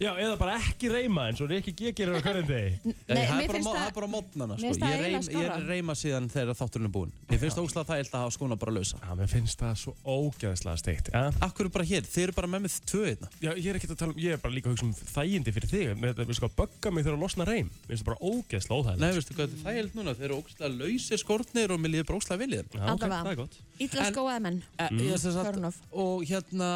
B: Já, eða bara ekki reyma eins og Rikki G gerir á hverjum degi.
C: Nei,
A: það,
C: mér
A: er bara,
C: finnst
A: mo-
C: það-
A: það er bara mótnana, sko.
C: Mér finnst það
A: Ég, reym,
C: eiginlega
A: ég
C: skárra.
A: reyma síðan þegar þátturinn er búinn. Mér finnst það óslega það að hafa skona bara lausa.
B: Já, mér finnst það svo ógæðislega steikt. Ja?
A: Akkur er bara hér, þið eru bara með mig tvö hérna. einna.
B: Já, ég er ekki að tala um, ég er bara líka að hugsa um þægindi fyrir þig. Mér þetta, við sko, bögga mig þegar að losna reym. Mér finnst það bara ógæðislega óþægilegt.
A: Nei, veistu hvað það er held núna? Þið eru óslega lausir skortnir og mér líður bara óslega viljið.
B: Já, ok,
C: Allavega.
A: Eh,
B: það er gott.
C: illa
A: En-
C: skóaði menn
A: Mm.
C: Turn off.
A: og hérna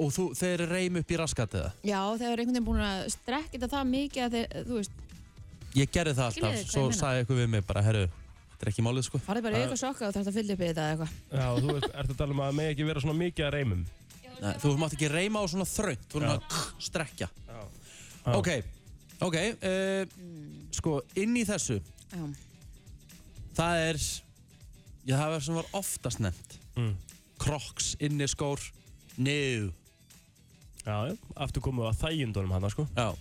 A: og þú, þeir reym upp í raskat eða?
C: Já, þegar einhvern veginn búin að strekka þetta það mikið að þeir, þú veist,
A: Ég gerði það
C: Skiljiði
A: alltaf,
C: hvað
A: svo
C: ég meina?
A: sagði eitthvað við mig bara, herru, þetta er ekki málið sko.
C: farið bara í eitthvað sokka og þarf að fylla upp í þetta eða eitthvað.
B: Já, þú veist, ertu að tala um að það megi ekki vera svona mikið að reymum.
A: Nei, þú mátt ekki reyma á svona þröngt, þú erum að kk- strekkja. Ok, ok, uh, sko, inn í þessu,
C: Já.
A: það er, já það er sem var oftast nefnt.
B: Mm.
A: Crocs, inni skór, niður.
B: Já, já, aftur komum við að þægindunum hann, sko.
A: Já,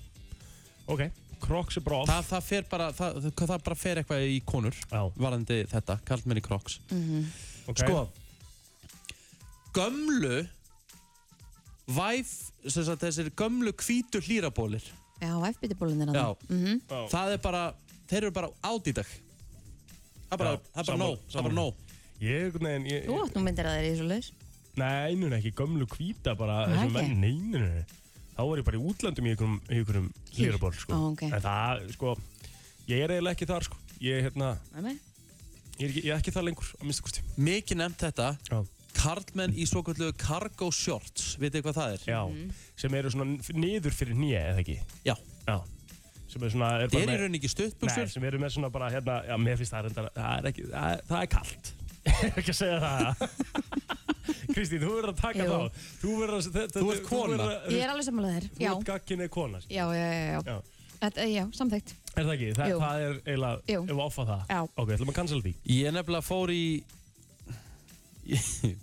B: Ok, Crocs er bra off.
A: það, það fer bara, það, það, það bara fer eitthvað í konur,
B: Já,
A: varandi þetta, kallmenni Crocs.
B: ok.
A: Sko Gömlu Væf sem sagt, Þessir gömlu hvítu hlýrabólir
C: Já, F-bitibólinn er
A: Já,
C: það. Mhm.
B: Já.
A: það er bara Þeir eru bara át í dag Það er bara,
B: Já,
A: það er bara
B: sammála,
A: nóg Það er bara
B: sammála.
A: nóg
B: Ég, nein, ég,
C: Þú átt nú myndir að þeir í svo leiðis.
B: nei, nein, ekki gömlu hvíta bara
C: Nei,
B: þessum
C: ekki.
B: menn, nei, nei, nei. Þá var ég bara í útlandum í einhverjum, í einhverjum
C: Kýr.
B: hlýraból, sko.
C: Ó, ok.
B: En það, sko, ég er eiginlega ekki þar, sko. Ég, hérna, ég er ekki, ég er ekki þar lengur, á minnstu kosti.
A: Mikið nefnt þetta
B: Já.
A: Karlmenn í svo kallu cargo shorts Vitið hvað það er?
B: Já,
C: Mhm.
B: sem eru svona niður fyrir nýja, eða ekki?
A: Já,
B: Já. Sem er svona... Er
A: þeir eru í
B: með-
A: rauninni ekki
B: Nei,
A: stuttbuxur
B: sem eru með svona bara hérna, já, mér finnst það reyndar, það er ekki, það er, það er kalt. Ég er ekki að segja það. Kristín, þú verður að taka
C: Jú.
B: þá. Þú verður að, þetta,
A: Þú ert kona.
B: verður að-
C: Ég er alveg sammála þér.
B: Þú
C: Já.
B: ert gagkinnið kona. skilur.
C: Já, já, já, já.
B: Já.
C: Þetta, já, samþygt.
B: Er það ekki? Þa,
C: Jú.
B: það er eiginlega,
C: Jú.
B: ef við offa það.
C: Já.
B: Ok, ætlum að cancela því.
A: Ég nefnilega fór í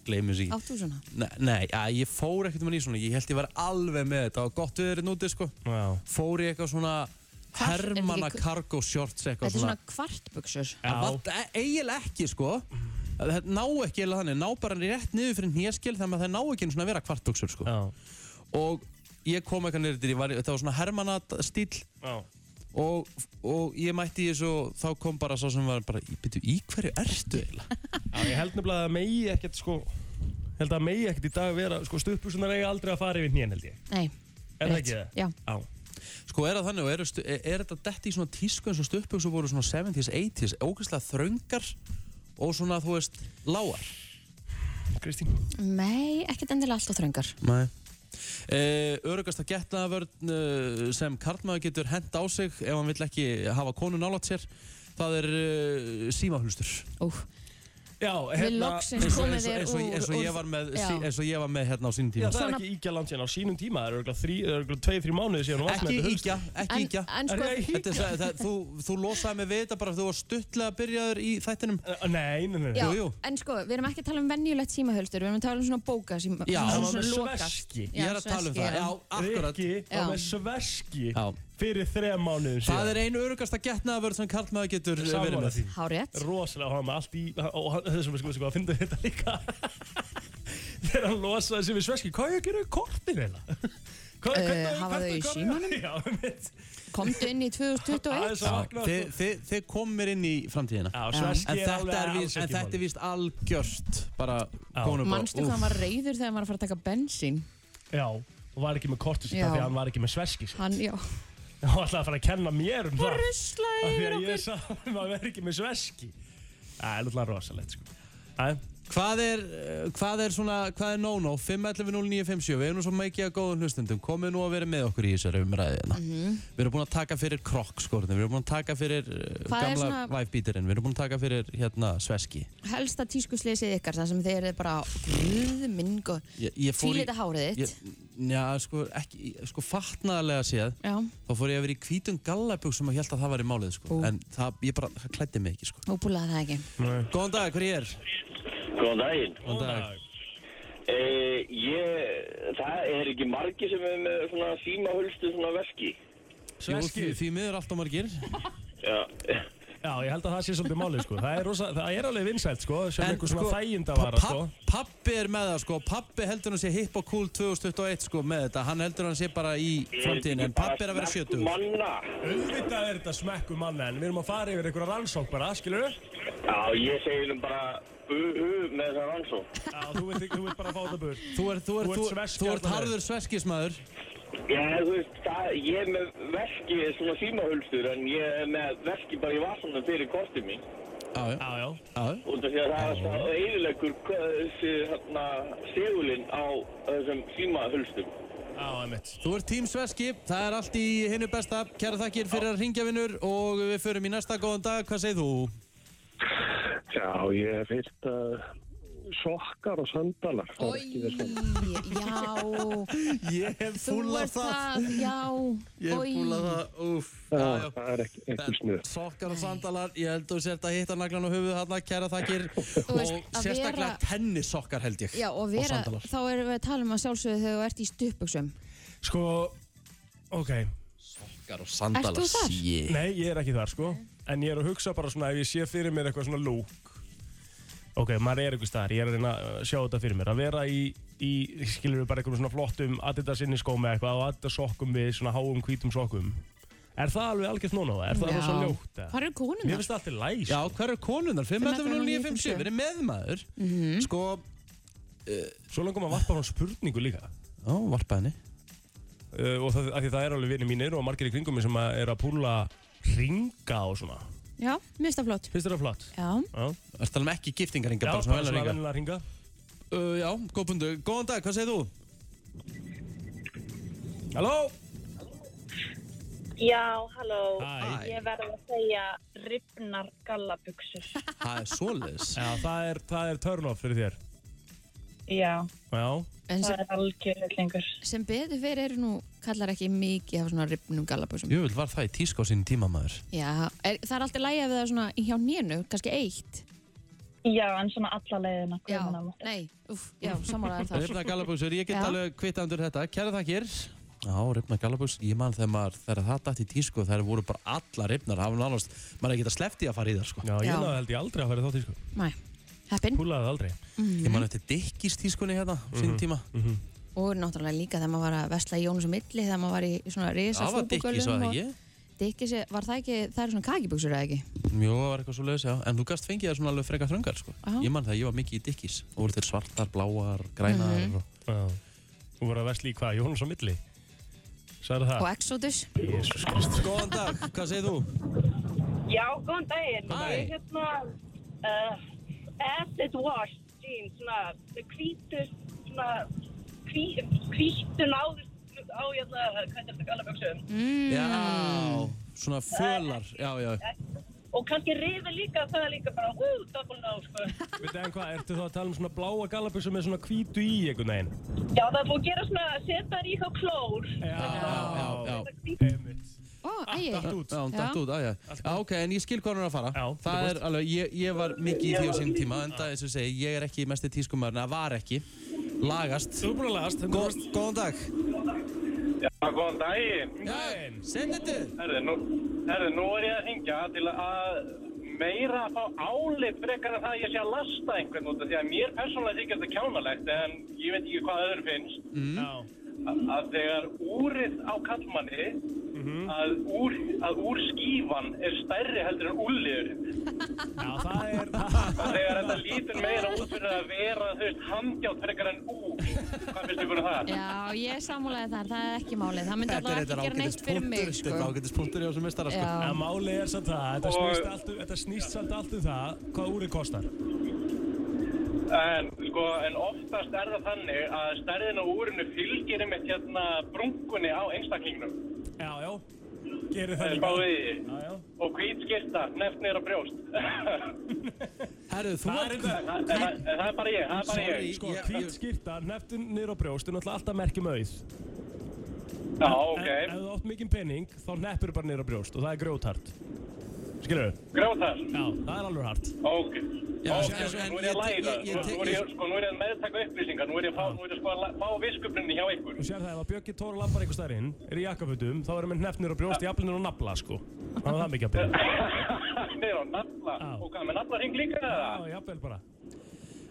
A: Gleimur sér
C: Áttu svona?
A: Nei, nei ja, ég fór ekkert um hann í svona Ég held ég var alveg með þetta Það var gott við þeirri núti sko
B: Já.
A: fór í eitthvað svona
C: Hvar- er þetta
A: hermana
C: ekki-
A: cargo shorts
C: Þetta
A: eitthvað
C: er
A: svona
C: svona kvartbuksur.
A: Það vald- e- eiginlega ekki sko Það ná ekki eða þannig, ná bara rétt niður fyrir nýjaskil þannig að það ná ekki einu svona að vera kvartbuksur sko.
B: Já.
A: og ég kom eitthvað niður til, ég var, í- þetta var svona hermana stíl
B: Já.
A: og, og ég mætti í þessu og þá kom bara sá sem var bara, byrju, í hverju ertu eiginlega?
B: Já, ég held nefnilega að það megi ekkert, sko, held að það megi ekkert í dag vera, sko, stuppusunar eiga aldrei að fara yfir nýjan, held ég.
C: Nei.
B: Er það
C: rétt.
B: ekki það?
C: Já.
B: Já.
A: Sko er það þannig og er, er, er þetta dett í svona tísku eins og stuppbjöksu voru svona 70s, 80s, ógeðslega þröngar og svona þú veist, lágar?
B: Kristín.
C: Nei, ekkert endilega alltaf þröngar.
A: Nei Uh, örugast að getnaðavörn uh, sem karlmaður getur hent á sig ef hann vill ekki hafa konu nálat sér það er uh, símahulstur
C: Ú,
B: Já,
C: við
B: hérna,
C: loksins
A: og,
C: komið
A: eins, og,
C: þér
A: eins, og,
C: úr.
A: eins og ég var með sí, eins og ég var með hérna á sínum
B: Já,
A: tíma
B: það er
C: Svona-
B: ekki íkja langt síðan á sínum tíma, það eru örgulega þrý, það eru örgulega tvei, þrý mánuði síðan hún varst með
A: ekki
B: þetta hulst.
A: íkja, ekki
C: En,
A: íkja
C: en sko,
B: Er ég-
A: Þetta er, það, það, þú, þú losaði mig við þetta bara þú var stuttlega byrjaður í þættinum
B: Eh, Nei, nei, nei, nei.
C: já,
A: Jú, jú.
C: en sko, við erum ekki að tala um venjulegt símahölstur, við erum að tala um svona bóka síma,
A: Já.
B: Það
C: svona,
B: var með
C: lokað.
B: sveski.
A: ég er að tala um
C: sveski,
A: það,
C: já.
A: já, akkurat
B: Rikki var
C: Já.
B: með sveski
A: Já.
B: fyrir þrejum mánuðum síðan.
A: það er ein örugast að getnaðavörn sem karlmaður getur uh, verið
B: Sammála
A: með
B: því.
C: Hárétt.
B: Rosalega, hann var með allt í, og hann- þessum við sko, sko, að finna þetta líka. Þegar hann losaði sig við sveski, hvað er að gera í kortin eða? Hvað,
C: Eh,
B: hvernig,
C: hafa þau í
B: símanum? Já, mitt.
C: Komdu inn í 2021.
B: Aðeins að vakna.
A: Þið- þið- þið komir inn í framtíðina
B: Já, sveski
A: En
B: er
A: þetta er,
B: alveg
A: víst,
B: alls
A: en
B: ekki
A: þetta er
B: málið.
A: víst algjört bara
B: Já.
A: konur bara,
C: Manstu hvað
A: úff.
C: hann var reyður þegar hann var að fara að taka bensín?
B: Já, og var ekki með kortið sitt
C: Já.
B: af því að hann var ekki með sveski sitt.
C: Hann, já,
B: Hann var alltaf að fara að kenna mér um það.
C: ruslaði
B: Af því
C: yfir
B: að ég
C: okkur.
B: sagði að maður verður ekki með sveski. Það er alltaf rosalegt, sko. Æ,
A: Hvað er, eh, hvað er svona, hvað er no-no? 5.11.09.57, við erum nú svo mikið að góðum hlustendum, komið nú að vera með okkur í þessari umræðina.
C: Mhm.
A: Við erum búin að taka fyrir krokkskorðin, við erum búin að taka fyrir uh,
C: Hvað er
A: gamla
C: svona-
A: væfbítirinn, við erum búin að taka fyrir hérna sveski.
C: Helsta tískusleysið ykkar, það sem þeir eru bara, grúð minn góð,
A: Ég, ég fór í...
C: fílita hárið
A: Ég,
C: þitt.
A: já, sko, ekki, sko fatnaðarlega séð,
C: Já,
A: þá fór ég að vera í hvítum gallabug sem að held að það var í málið, sko.
C: Ú.
A: En það, ég bara, það klæddi mig ekki, sko.
C: og búlaði það ekki.
A: Góðan dag, hver er?
H: Góðan daginn.
A: Góðan dag.
H: E, ég, það er ekki margi sem er með svona símahulstu svona veski.
A: Jú, því,
B: Sveski.
A: því miður allt á margir.
H: Já.
B: Já, ég held að það sé svolítið málið, sko. Það er, rosa, það er alveg vinsælt, sko, sem
A: En
B: einhver svona
A: sko,
B: þæginda vara, sko.
A: Pappi er með það sko, pappi heldur hann sé hip og cool 2021 sko með þetta, hann heldur hann sé bara í framtíðin, en pappi er að vera 70.
H: Snakkum Manna.
B: Auðvitað er þetta smekku manna, en við erum að fara yfir einhverja rannsók bara, skilur við?
H: Já, ég segi nú bara buhu með það rannsók.
B: Já, þú vilt, þú vilt bara fá þetta burt.
A: Þú ert, þú ert,
B: Þú ert
A: þú
B: sveski
A: þú ert
B: allan
A: harður sveskismæður.
H: Já, þú veist, það, ég er með veski svona símahulstur en ég er með veski bara í vasanum fyrir kortið mín.
A: Já, já,
B: Já, já.
A: já.
H: Út af því að það er alltaf eðilegur þessi hérna, segulinn á þessum símahulstum.
B: Já, einmitt.
A: Þú ert tím Sveski, það er allt í hinu besta. Kæra þakkir fyrir að ringja vinnur og við förum í næsta góðan dag. Hvað segir þú?
I: Já, ég hef hýrt að sokkar og sandalar. það er ekki þess að-
C: já,
A: Ég hef
C: þú ert það, já,
A: Ég hef
C: oj.
A: fúlað það, úff. Já,
I: Já,
A: já.
I: Það er ekki, ekki snuð.
A: Sokkar og sandalar, ég held að þú sért að hitta naglan á höfuð þarna, kæra þakkir
C: veist,
A: og
C: að
A: sérstaklega
C: vera-
A: tennissokkar held ég
C: Já, og vera,
A: sandalar.
C: þá erum við að tala um að sjálfsögðu þegar þú ert í stupuksum.
B: Sko, ok.
A: Sokkar og sandalar
C: Ert þú þar?
A: sí.
B: Nei, ég er ekki þar, sko. En ég er að hugsa bara svona ef ég sé fyrir mér eitthvað svona lúk. Ok, maður er eitthvað staðar. Ég er að reyna að sjá þetta fyrir mér. Að vera í, í skilur við bara eitthvað svona flottum Adidas inniskóm eða eitthvað og Adidas sokkum við svona háum hvítum sokkum. Er það alveg algjört núna? Er það
C: Já. hérna.
B: rosa ljótt? eða?
J: Hvað eru konum
B: Mér finnst það alltaf læs.
A: Já, hver er konunar? 5.957,
C: 511-957.
A: verið meðmaður mm
C: Mhm.
A: Sko,
B: Svo langum að varpa frá spurningu líka.
A: ó, varpa henni
B: Uh, og það, af því það er alveg vinni mínir og margir í kringum mig sem að er að púla ringa og svona.
C: Já, mér finnst það flott.
B: Finnst þér það flott?
C: Já,
B: Já,
A: Það er tala um ekki giftingaringa,
B: já
A: bara svona velar
B: venjulega ringa.
A: uh, Já, góð pundu, góðan dag, hvað segir þú?
B: Halló?
G: Já, halló.
B: Hæ.
G: Ég verði að segja rifnar gallabuxur.
A: Það er svoleiðis
B: Já, það er, það er turn off fyrir þér.
G: Já,
B: Já,
C: en
G: það
C: sem,
G: er algjörlega lengur.
C: sem betur fyrir eru nú, kallar ekki mikið af svona ripnum gallabúsum.
A: Jú, var það í tísku á sín tíma maður
C: Já, er, það er alltaf lægi ef það er svona hjá nénu, kannski eitt.
G: Já, en svona alla leiðina.
C: Já,
G: guðmanna má.
C: nei, uff, já, sammálaðar þar.
A: Rifna Galabúsur, ég get
C: Já.
A: alveg kvitta undir þetta Kæra þakkir Já, Rifna Galabús, ég man þegar maður þegar það dætt í tísku þær voru bara alla rifnar hafa nánast, maður er ekki að slefti að fara í þar sko.
B: já ég
C: Já.
B: náði held ég aldrei að fara í þátt í sko.
C: Næ, heppin.
B: Púlaði aldrei.
A: Ég man eftir Dickies tískunni hérna mm sín tíma
C: Og náttúrulega líka þegar maður var að vesla í Jónus og Milli, þegar maður var í svona risa
A: Það var Dickies, var það ekki?
C: Dikkis, var það ekki, það eru svona kakibuxur eða ekki?
A: Jó, það var eitthvað svo leiðis, já En þú gast fengið það svona alveg freka þröngar sko.
C: Já.
A: Ég man það, að ég var mikið í Dickies og voru til svartar, bláar, grænar
C: Mhm.
A: og...
B: Já. Þú voru að versla í hvað? Jónas á milli? Sæður
A: Ah.
C: Og
B: það?
C: Exodus?
B: Jésus Kristus.
A: Góðan dag, hvað segir þú?
G: Já, góðan daginn.
A: Hæ.
G: Ég hérna, uh, acid wash jeans, svona, með hvítur, svona, hví- hvítur náður á, hérna, hvað er þetta gallaböksum?
C: Mm.
A: Já, svona fölar, já, já
G: Og kannski rifa líka, það er líka bara, hú, double ná, sko.
B: Vitið en hvað, ertu þá að tala um svona bláa galabusum með svona hvítu í einhvern veginn?
G: Já, það er búið að gera svona, setja þær í hjá klór.
B: Já, já,
C: Mm.
A: Já,
B: Einmitt.
C: Ó, ægi.
B: Datt út.
A: Já, hún Ah, datt
C: Já.
A: út, já, já. já, ok, en ég skil hvað hún er að fara
B: Já,
A: Það er alveg, ég, ég var mikið í því á sín tíma en það, eins og ég segi, ég er ekki mest í tískumæðurinn það var ekki, lagast
B: Þú er búin að lagast.
A: Gó, Góðan dag
H: Já, góðan daginn.
B: Góðan.
A: Send þetta
H: Herði, nú, herði, nú er ég að hingja til að meira að fá álit frekar en það að ég sé að lasta einhvern út af því að mér persónulega þykir þetta kjánalegt en ég veit ekki hvað öðru finnst
B: Já.
H: að, að þegar úrið á kallmanni
B: Mm-hmm.
H: að, úr, að úr skífan er stærri heldur en úrliður
B: Já, það er, það,
H: og þegar þetta lítur meira út fyrir að vera þú veist handjátt frekar en úr hvað finnst þið fyrir það?
C: Já, ég samúlaði þar, það er ekki málið. Það myndi
A: er
C: alltaf ekki gera neitt fyrir mig,
A: punktur,
C: sko.
A: þetta er ágætis punktur í þessum mestara sko.
C: Já,
B: En máli er samt það, þetta
H: Og-
B: snýst, allt, um- þetta snýst samt allt um það hvað úrið kostar.
H: En, sko, en oftast er það þannig að stærðin á úrinu fylgir einmitt hérna brungunni á einstaklingnum
B: Já, já, gerir það
H: Það er
B: líka.
H: báðið í því.
B: Já, já.
H: og hvít skyrta neft niður á brjóst
A: Herru, þú
B: Það er
A: ert
B: þetta,
H: En það en það er bara ég, það er bara
A: Sorry.
H: ég
B: sko,
A: Ég- ég-
B: hvít skýrta, neftun niður á brjóst, er náttúrulega alltaf merkjum auð. En
H: Já,
B: ef
H: ok,
B: þú átt mikinn penning, þá neppur bara niður á brjóst og það er grjóthart. Skilur við?
H: grótar
B: Já, það er alveg hart.
H: Ok,
A: Já,
H: ok,
A: en- en
H: nú er ég að
A: ég- ég- ég-
H: læra Nú-
A: ég-
H: Nú er ég, sko, nú er ég að meðtaka upplýsingar Nú er ég að fá, nú er ég sko að la- fá viskubrunni hjá ykkur
B: Þú sér það, ef að Björki Tóra lappar einhver stærinn, er í jakkafutum, þá erum við nefnir á brjóst, jafnir og nafla, sko. Þannig að það er mikið að byrja.
H: Niður á nafla
B: Já.
H: Og hvað, með nafla hring líka
B: Já,
H: eða?
B: jafnvel bara.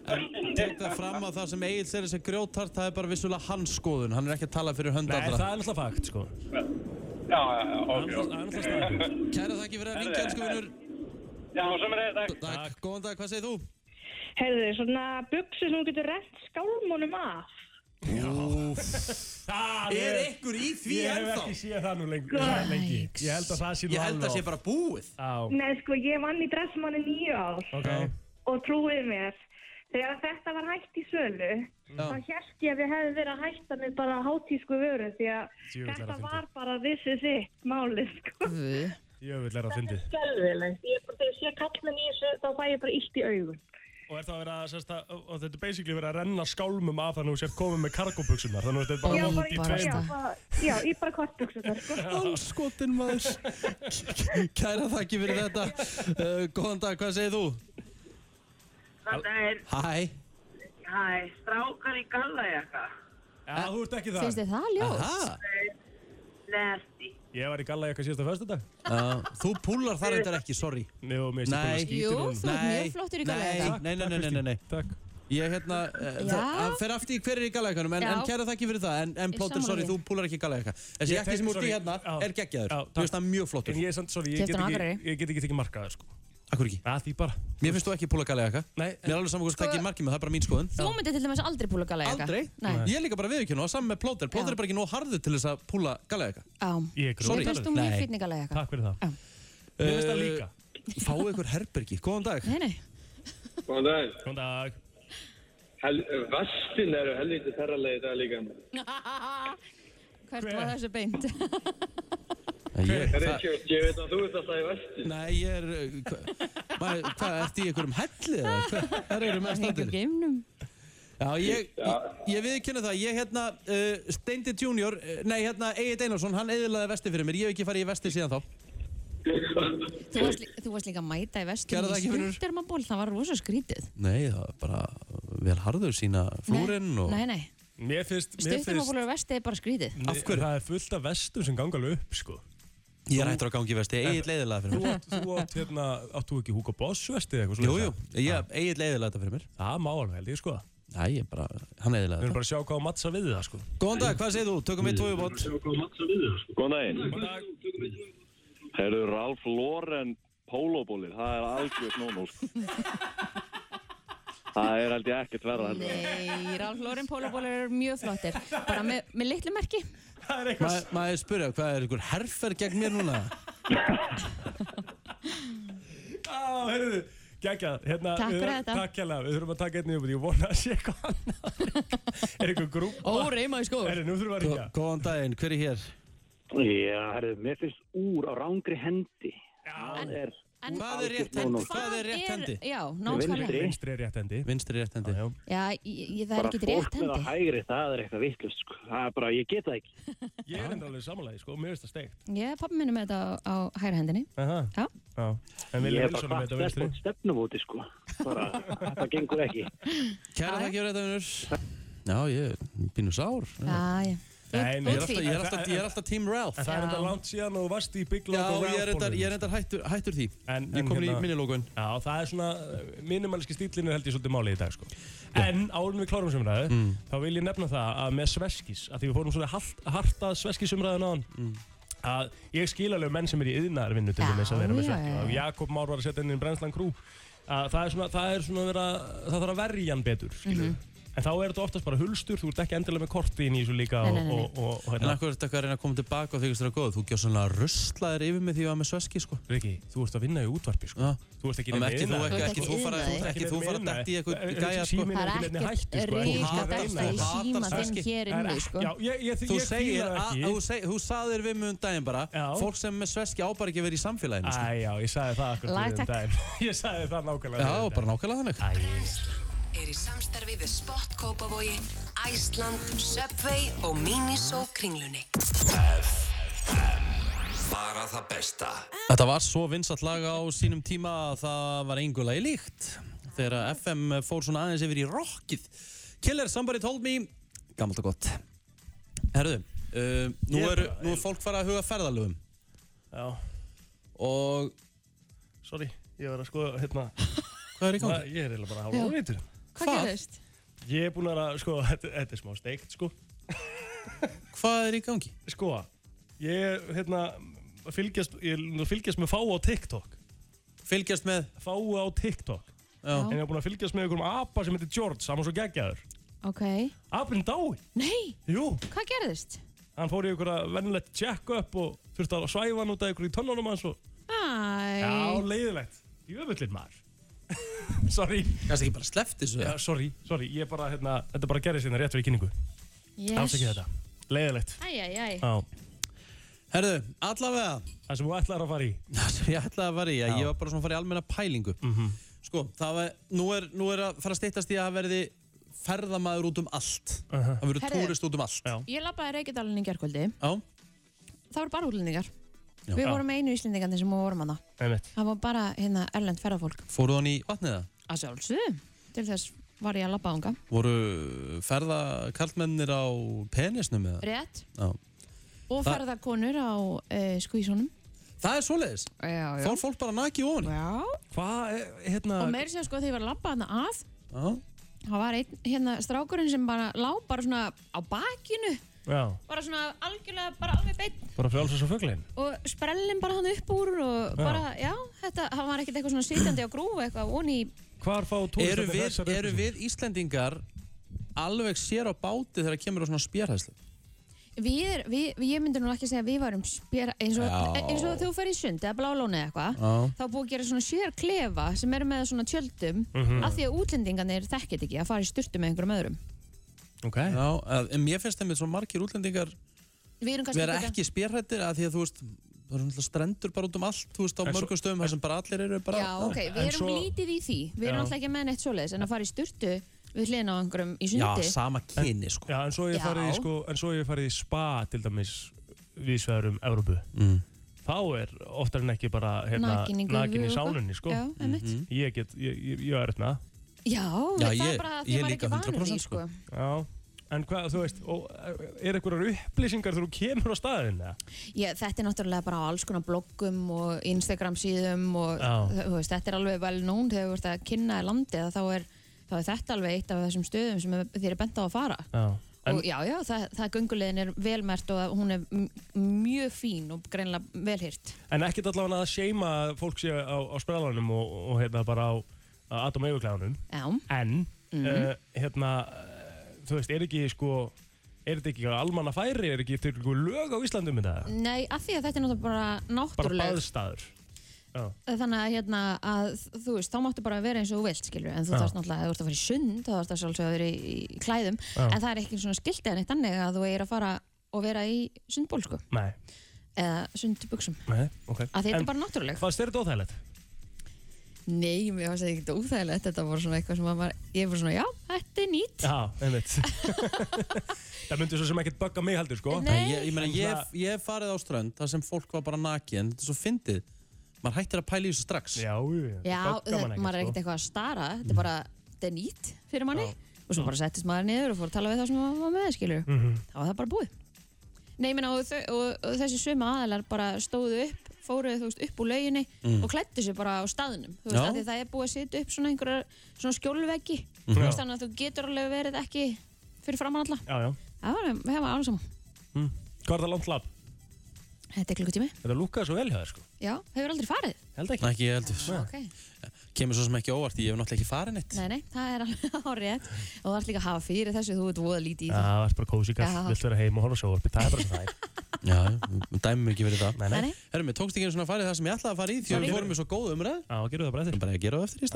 A: Tek það fram að það sem Egil segir þessi grjótart það er bara vissulega hans skoðun, hann er ekki að tala fyrir hönd
B: Nei, það
A: allra
B: er náttúrulega fakt, sko.
H: Já, já, já,
B: Það er
H: ok,
B: náttúrulega- það
H: ok
B: er náttúrulega staðfest.
A: Kæra þakki fyrir að ringja, elsku vinnur
H: Já, sem er þetta
A: Takk, góðan dag, hvað segir þú?
G: Heyrðu, svona buksur sem þú getur rent skálmónum af.
B: Það
A: Er einhver í því
B: ég Ég hef
A: ennþá?
B: ekki séð það nú lengi, það lengi. Ég held að það sé nú
A: Ég held að sé bara búið
B: Já,
J: Nei, sko, ég vann í dressmanni nýju ár
B: ok
J: og trúið mér. Þegar þetta var hægt í sölu, þá hérst ég að við hefðum verið að hætta með bara hátísku vöru því að
B: Djöfull er
J: þetta
B: það
J: var bara this is it málið, sko.
B: Jöfull er það fyndið
J: Skelvilegt. Ég bara, þegar ég sé kallmenn í þessu, þá fæ ég bara illt í augun.
B: Og er það að vera, sérst að, og þetta er basically verið að renna skálmum af þannig að þú sért komið með kargóbuksunar Þannig að þetta er
J: Já,
B: bara
J: bara,
B: vond í
J: já,
B: tveim
J: bara, já, í bara kortbuksunar, sko.
A: Allskotin maður Kæra þakki fyrir þetta uh, Góðan dag, hvað segir þú?
G: Þetta er,
A: Hæ
G: hæ, strákar í gallajakka.
B: Já, þú ert ekki
C: Finnst
B: það
C: þið það ljótt?
A: Aha.
G: Nesti.
B: Ég var í galla eitthvað síðasta föstudag
A: Já, Þú púlar þar eitthvað ekki, sorry
B: Nei, og mér
A: um? Nei.
B: finnst ég
C: Jú,
B: búin að
C: þú ert mjög flottur í galajakka.
A: Nei, nei, nei, nei, nei, nei.
B: skýta Takk
A: Ég hérna, uh,
C: Já.
A: það það fer aftur í hver er í galækanum en,
C: Já.
A: en kæra þakki fyrir það, en, en
C: Ég
A: plóter,
C: sammála
A: sorry,
C: því.
A: þú púlar ekki galæka Þessi
B: Ég
A: jakki
B: tek-
A: sem úr í
B: sorry.
A: hérna
B: Já.
A: er geggjaður
B: Já,
A: Þú
B: takk.
A: veist það er mjög flottur
B: En ég er samt, sorry, ég
C: Keypti
B: get
C: hann á
B: ekki,
C: Akureyri.
B: ég get ekki tekið markaði, sko
A: Akkur ekki?
B: Að því bara
A: Mér finnst þú ekki púla galæka
B: Nei,
A: Mér er alveg saman hvort það
C: Sko-
A: ekki markið með, það er bara mín skoðun
C: Þú myndir til dæmis aldrei púla gala jakka.
A: Aldrei,
C: Nei.
A: ég er líka bara viðurkynna og saman með plóter Plóter
C: Já.
A: er bara ekki nóg harður til þess að púla galæka
C: Já.
B: Ég er
A: Sorry.
C: Mér finnst þú mjög
A: Nei.
C: fyrir gala jakka.
B: Takk fyrir það
C: Já.
B: Mér finnst það líka
A: Fáðu ykkur herbergi, góðan dag
C: Nei, nei.
F: Góðan daginn.
B: Góðan dag
F: Hel vestin eru helviti ferralegi dag líka.
C: Hvert var þessu beint?
A: ég, það,
F: Richard, ég veit að þú ert alltaf í vestin.
A: Nei, ég er uh, hva- maður- Hvað, ertu í einhverjum helli eða? Hvað- Hvar eru með
C: Hengur
A: standir?
C: geimnum.
A: Já, ég, ég, ég viðkynna það, ég hérna uh, Steindi Junior, uh, nei hérna Egil Einarsson, hann eðilaði vesti fyrir mér, ég hef ekki farið í vesti síðan þá
C: Þú varst, lí- þú varst líka að mæta
A: Gerðu
C: í vestum
A: það
C: í
A: ekki, vinur?
C: stundermaból, það var rosa skrítið.
A: Nei, það var bara vel harður sína flúrinn og
C: Nei, nei.
B: Mér finnst, mér finnst
C: Stundermaból og vestið er bara skrítið.
A: Af hverju?
B: Það er fullt af vestum sem ganga alveg upp, sko
A: ég er hættur á gangi í vesti, Egil eðilaði fyrir
B: Þú
A: mér
B: átt, þú átt hérna, áttu ekki Hugo Boss vestið eitthvað svona
A: Jú, jú, ég, Egil eðilaði þetta fyrir mér
B: Það má alveg held ég, sko Við
A: Nei, ég bara, hann eðilaði
B: erum
A: þetta
B: bara að sjá hvað mattsa við það, sko
A: Góðan dag, hvað segir þú? Tökum við tói bót
K: Góðan daginn. Herðu, Ralf Lauren pólóbólið, það er algjörð nónúl. Það er held ég ekkert verða heldur.
C: Nei, Ralf Lauren pólabólar eru mjög flottir. Bara með, með litlu merki.
B: Það er eitthvað
A: Ma- Maður spyrja, hvað er ykkur herfer gegn mér núna?
B: Á, heyrðu, geggjað hérna,
C: Takk
B: við-
C: fyrir þetta.
B: Takk hérna, við þurfum að taka einnig upp Ég vona að sé eitthvað annað Er eitthvað grúpa?
C: Ó, reyma í skóður.
B: Herru, nú þurfum við að
A: Gó-
B: ringja
A: Góðan daginn, hver er hér?
K: Já, herðu, mér finnst úr á rángri hendi. Það er
C: En
A: Hvað er rétt
K: Algjört
A: hendi?
K: no-no.
A: Hvað er rétt hendi?
C: Já, nákvæmlega.
K: Vinstri.
B: Vinstri er rétt endi
A: Vinstri rétt hendi
B: já.
C: Já, ég, ég, það er
K: bara
C: ekki
K: fólk
C: rétt
K: með að
C: hendi.
K: hægri, það er eitthvað vittlust, sko. Það er bara, ég get það ekki.
B: Ég er enda alveg samanlega, sko, mér finnst það steikt
C: Ég pappi minni með þetta á, á hæra hendinni.
B: Aha.
C: Já.
B: Já. En
K: Ég
B: Vilja
K: er
B: Vilsson
K: bara
B: með
K: hvað
B: þetta vinstri
K: stefnum, stefnumóti, sko. Bara, það gengur ekki.
A: Kæra þakki fyrir þetta, vinnur Já, ég er pínu sár
C: Já, já.
B: Nei, nei,
A: Ég er alltaf, ég er
B: En það-
A: alltaf, ég er alltaf Team Ralph
B: En það er enda
C: Já.
B: langt síðan og þú varst í Big
A: Já,
B: Logo
A: ég er reyndar, ég er reyndar hættur, hættur því
B: En-
A: Ég
B: en
A: komin
B: hérna-
A: í minnilogun
B: Já, það er svona, uh, minimalíski stílinn er held ég svolítið málið í dag sko. En árum við klárum sumræðu,
A: Mm.
B: þá vil ég nefna það að með sveskis, að því við fórum svona hart, harta sveskisumræðun á hann,
A: Mm.
B: að ég skil alveg menn sem er í yðnaðarvinnu til
C: Já,
B: þess að vera með
C: já,
B: sveskis.
C: já.
B: Og Jakob Már var að setja inn í brennslan krú. Að það er svona, það er svona að vera, það þarf að verja hann betur, skilur.
A: Mhm.
B: En þá er þetta oftast bara hulstur, þú ert ekki endilega með korti inn í þessu líka og,
C: Nei, nei, nei, nei.
B: og, og, og
A: En
B: hérna.
A: akkur er þetta eitthvað að reyna að koma tilbaka og þykist þér að góða Þú gjör svona ruslaðir yfir mig því að ég var með sveski, sko
B: Riki, þú ert að vinna í útvarpi, sko.
A: Já.
B: Þú ert ekki
A: Þannig
B: neitt
A: ekki þú,
B: iðnaðar-
A: ekki, ekki
C: Þú ert ekki
A: þú fara,
C: iðnaði.
A: ekki þú fara að detti í eitthvað gæja, sko hatar
C: Það er ekkert ríka dæsta í
A: það.
C: síma
A: Hatar
C: þinn
A: sveski.
C: hér
B: Það er
C: inni,
B: ekki-
C: sko.
B: Já, ég, ég,
A: Þú
B: ég
A: segir,
B: fíla
A: að,
B: það
A: þú,
B: ekki.
A: seg, þú sagðir við mig um daginn bara
B: Já.
A: Fólk sem er með sveski ábar ekki að vera í samfélaginu sko.
B: Æ, já, ég sagði það akkur
C: Lagtak.
B: Ég sagði það nákvæmlega
A: Já,
B: fyrir um
A: bara nákvæmlega þannig
B: daginn. Æ,
D: Er í samstarfi við Spot Kópavogi, Æsland, Subway og Miniso kringlunni.
E: Bara það besta.
A: Þetta var svo vinsalt lag á sínum tíma að það var engulagi líkt þegar að FM fór svona aðeins yfir í rockið. Killer, somebody told me, gammalt og gott. Herðu, uh, nú,
B: Ég
A: er,
B: bara-
A: nú er fólk farið að huga ferðalöfum
B: já,
A: og
B: sorry, ég var að skoða hérna
A: hvað er í gangi?
B: Æ, Ég er eiginlega bara hálf óveitur
C: Hvað gerðist?
B: Ég er búinn að, sko, þetta, þetta er smá steikt, sko
A: Hvað er í gangi?
B: Sko, ég er, hérna, að fylgjast, ég er nú að fylgjast með fáu á TikTok
A: Fylgjast með,
B: Fáu á TikTok
A: já,
B: En ég er búinn að fylgjast með einhverjum apa sem heitir George, hann var svo geggjaður
C: Ok.
B: Apinn dái.
C: Nei,
B: Jú,
C: hvað gerðist?
B: hann fór í ykkur að vennilegt check-up og þurfti að svæfa hann út af ykkur í tönnunum hans og...
C: Æ.
B: Já, leiðilegt. Jöfullin maður. sorry.
A: Kannski ekki bara sleppt þessu.
B: Já, sorry, sorry. Ég bara, hérna, þetta bara gerði sérna rétt fyrir kynningu.
C: Yes.
B: Afsakið þetta. Leiðilegt.
C: Æj, æj, æj.
B: Já.
A: Herðu, allavega.
B: Það sem þú ætlar að fara í.
A: Það sem ég ætlaði að fara í, að ég var bara svona að fara í almenna pælingu. Sko, það var, nú er, nú er að fara að stýttast í að það verði ferðamaður út um allt. Það verður
C: Herðu.
A: túrist út um allt. Já.
C: Ég labbaði Reykjadalinn í gerkvöldi.
A: Já.
C: Það voru bara útlendingar. Við vorum einu íslendingarnir sem vorum hana.
B: Einmitt.
C: Það var bara hérna erlend ferðafólk.
A: Fóruð hann í vatniða?
C: Að sjálfsögðu. Til þess var ég að labba ánga.
A: Voru ferða karlmennir á penisnum eða?
C: Rétt.
A: Já.
C: Og
A: Það-
C: ferðakonur á uh, skvísunum.
A: Það er svoleiðis?
C: Já, já.
A: Fór fólk bara naki ofan?
C: Já.
B: Hvað, hérna...
C: Og meir sem sko þegar ég var að labba hana að,
A: Já.
C: það var einn hérna strákurinn sem bara lá bara svona á bakinu.
B: Já,
C: Bara svona algjörlega, bara alveg beitt
B: bara frjálsast á fugglegin.
C: og sprellin bara hann upp úr og
B: Já.
C: bara, já, þetta, hann var ekkert eitthvað svona sitjandi á grúfu eitthvað onni í,
B: Hvar fá
A: Eru
B: túristarnir
A: við,
B: þessar
A: eru við Íslendingar alveg sér á báti þegar kemur á svona spjærhæslu?
C: við, við, við, ég myndi nú ekki segja að við varum spjara, eins og,
A: Já.
C: eins og þú fer í sund eða blálónu eða eitthvað,
A: Já.
C: þá er búið að gera svona sér klefa sem eru með svona tjöldum
A: Mhm.
C: af því að útlendingarnir þekkit ekki að fara í styrtu með einhverjum öðrum.
B: Ok.
A: Já, að- en mér finnst þeim svo margir útlendingar
C: Við erum kannski
A: vera ekki spjærhættir að því að þú veist, það eru náttúrulega strendur bara út um allt, þú veist, á
B: En svo-
A: mörgum stöðum þar sem bara allir eru bara...
C: Já, ok, við
A: En
C: erum lítið í því, við erum
A: Já.
C: alltaf ekki með neitt svoleiðis en að fara í styrtu við hliðin á einhverjum í
A: Já,
C: sundi.
A: sama kyni, sko.
B: Já, en svo ég farið í,
C: Já.
B: sko, en svo ég farið í spa, til dæmis, viðsvegarum Evrópu.
A: Mm.
B: Þá er oftar en ekki bara, hérna,
C: Nakinn í gufu
B: nakin í
C: og eitthvað.
B: sánunni, sko.
C: Já, einmitt.
B: Mhm. Ég get, ég, ég, ég er hérna. þetta.
C: Já,
B: Já,
C: það
B: ég-
C: er bara
B: ég
C: að þið var
B: líka
C: ekki vanur
B: 100%
C: því, sko.
B: Já. En hvað, þú veist, og, er einhverjar upplýsingar þegar þú kemur á staðinn, eða?
C: Já, þetta er náttúrulega bara á alls konar bloggum og Instagram síðum og
B: Já.
C: þú veist, þetta er alveg vel nún þegar þú ert að kynna í landið að þá er, þá er þetta alveg eitt af þessum stöðum sem er- þér er bent á að fara.
B: Já. En,
C: og já, já, það, það göngulegin er velmert og hún er m- mjög fín og greinlega velhyrt.
B: En ekkert allavega að seima að fólk sé á, á sprellanum og, og hérna bara á, á atom yfirklæðanum.
C: Já.
B: En,
C: Mhm.
B: eh, hérna, eh, þú veist, er ekki sko, er þetta ekki almanna færi, er ekki til ykkur lög á Íslandi um þetta?
C: Nei, af því að þetta er náttúrulega
B: Bara
C: bara náttúrulega.
B: baðstæður. Já.
C: Þannig að, hérna, að þú veist, þá máttu bara vera eins og þú vilt, skilur, en þú
B: Já.
C: þarfst náttúrulega, ef þú ert að fara í sund, þá þarfst það sjálfsög að vera í, í klæðum,
B: Já.
C: en það er ekki svona skiltið en eitt annað að þú eigir að fara og vera í sundból, sko,
B: Nei,
C: eða sundbuksum.
B: nei, ok.
C: Að þetta er bara náttúruleg.
B: Fannst þér þetta óþægilegt?
C: Nei, mér var þetta ekkert óþægilegt, þetta var svona eitthvað sem að var, ég var svona, já, þetta er nýtt.
B: Já, einmitt. það myndi svo sem ekkert bugga mig heldur, sko.
A: Nei, ég, ég, meina, ég, ég hef farið á strönd þar sem fólk var bara naki en þetta er svo fyndið maður hættir að pæla í þessu strax
B: já,
C: Já,
B: sko.
C: það, maður er ekkert sko. eitthvað að stara, þetta er bara, þetta er nýtt fyrir manni, og svo bara settist maður niður og fór að tala við það sem maður var með, skilur. þá var það bara búið. Nei, ég meina, og, þau, og, og þessi sömu aðalar bara stóðu upp, fóru þú veist, upp úr lauginni
A: Mm.
C: og klættu sig bara á staðnum. Þú veist,
A: Já.
C: af því það er búið að setja upp svona einhverjar svona skjólveggi.
A: Mhm.
C: Þú
A: Já.
C: veist, þannig að þú getur alveg verið ekki fyrir framann alla.
B: Já, já.
C: Það var, það var alveg saman.
B: Hvað er það langt lab?
C: Þetta er klukkutími.
B: Þetta lúkaði svo vel hjá þér, sko.
C: Já, hefur aldrei farið.
B: Held ekki.
A: Nei, ekki ég heldur
C: Ok.
A: Kemur svo sem ekki óvart, ég hef náttúrulega ekki farið neitt
C: Nei, nei, það er alveg árið. Og það er líka að hafa fyrir þessu, þú ert voða lítið í
B: Já,
C: það.
B: það er bara kósi kall,
C: Já.
B: vilt vera heim og horfa sjóvarpi, það er bara sem það er.
A: Já, við dæmum ekki verið það
B: Nei,
C: nei.
A: Herru, mér tókst ekki einu svona að fara í það sem ég ætlaði að fara í því að
B: Sorry.
A: við fórum með svo góð umræð
B: Já, gerum það bara eftir
A: Bara að gera það eftir í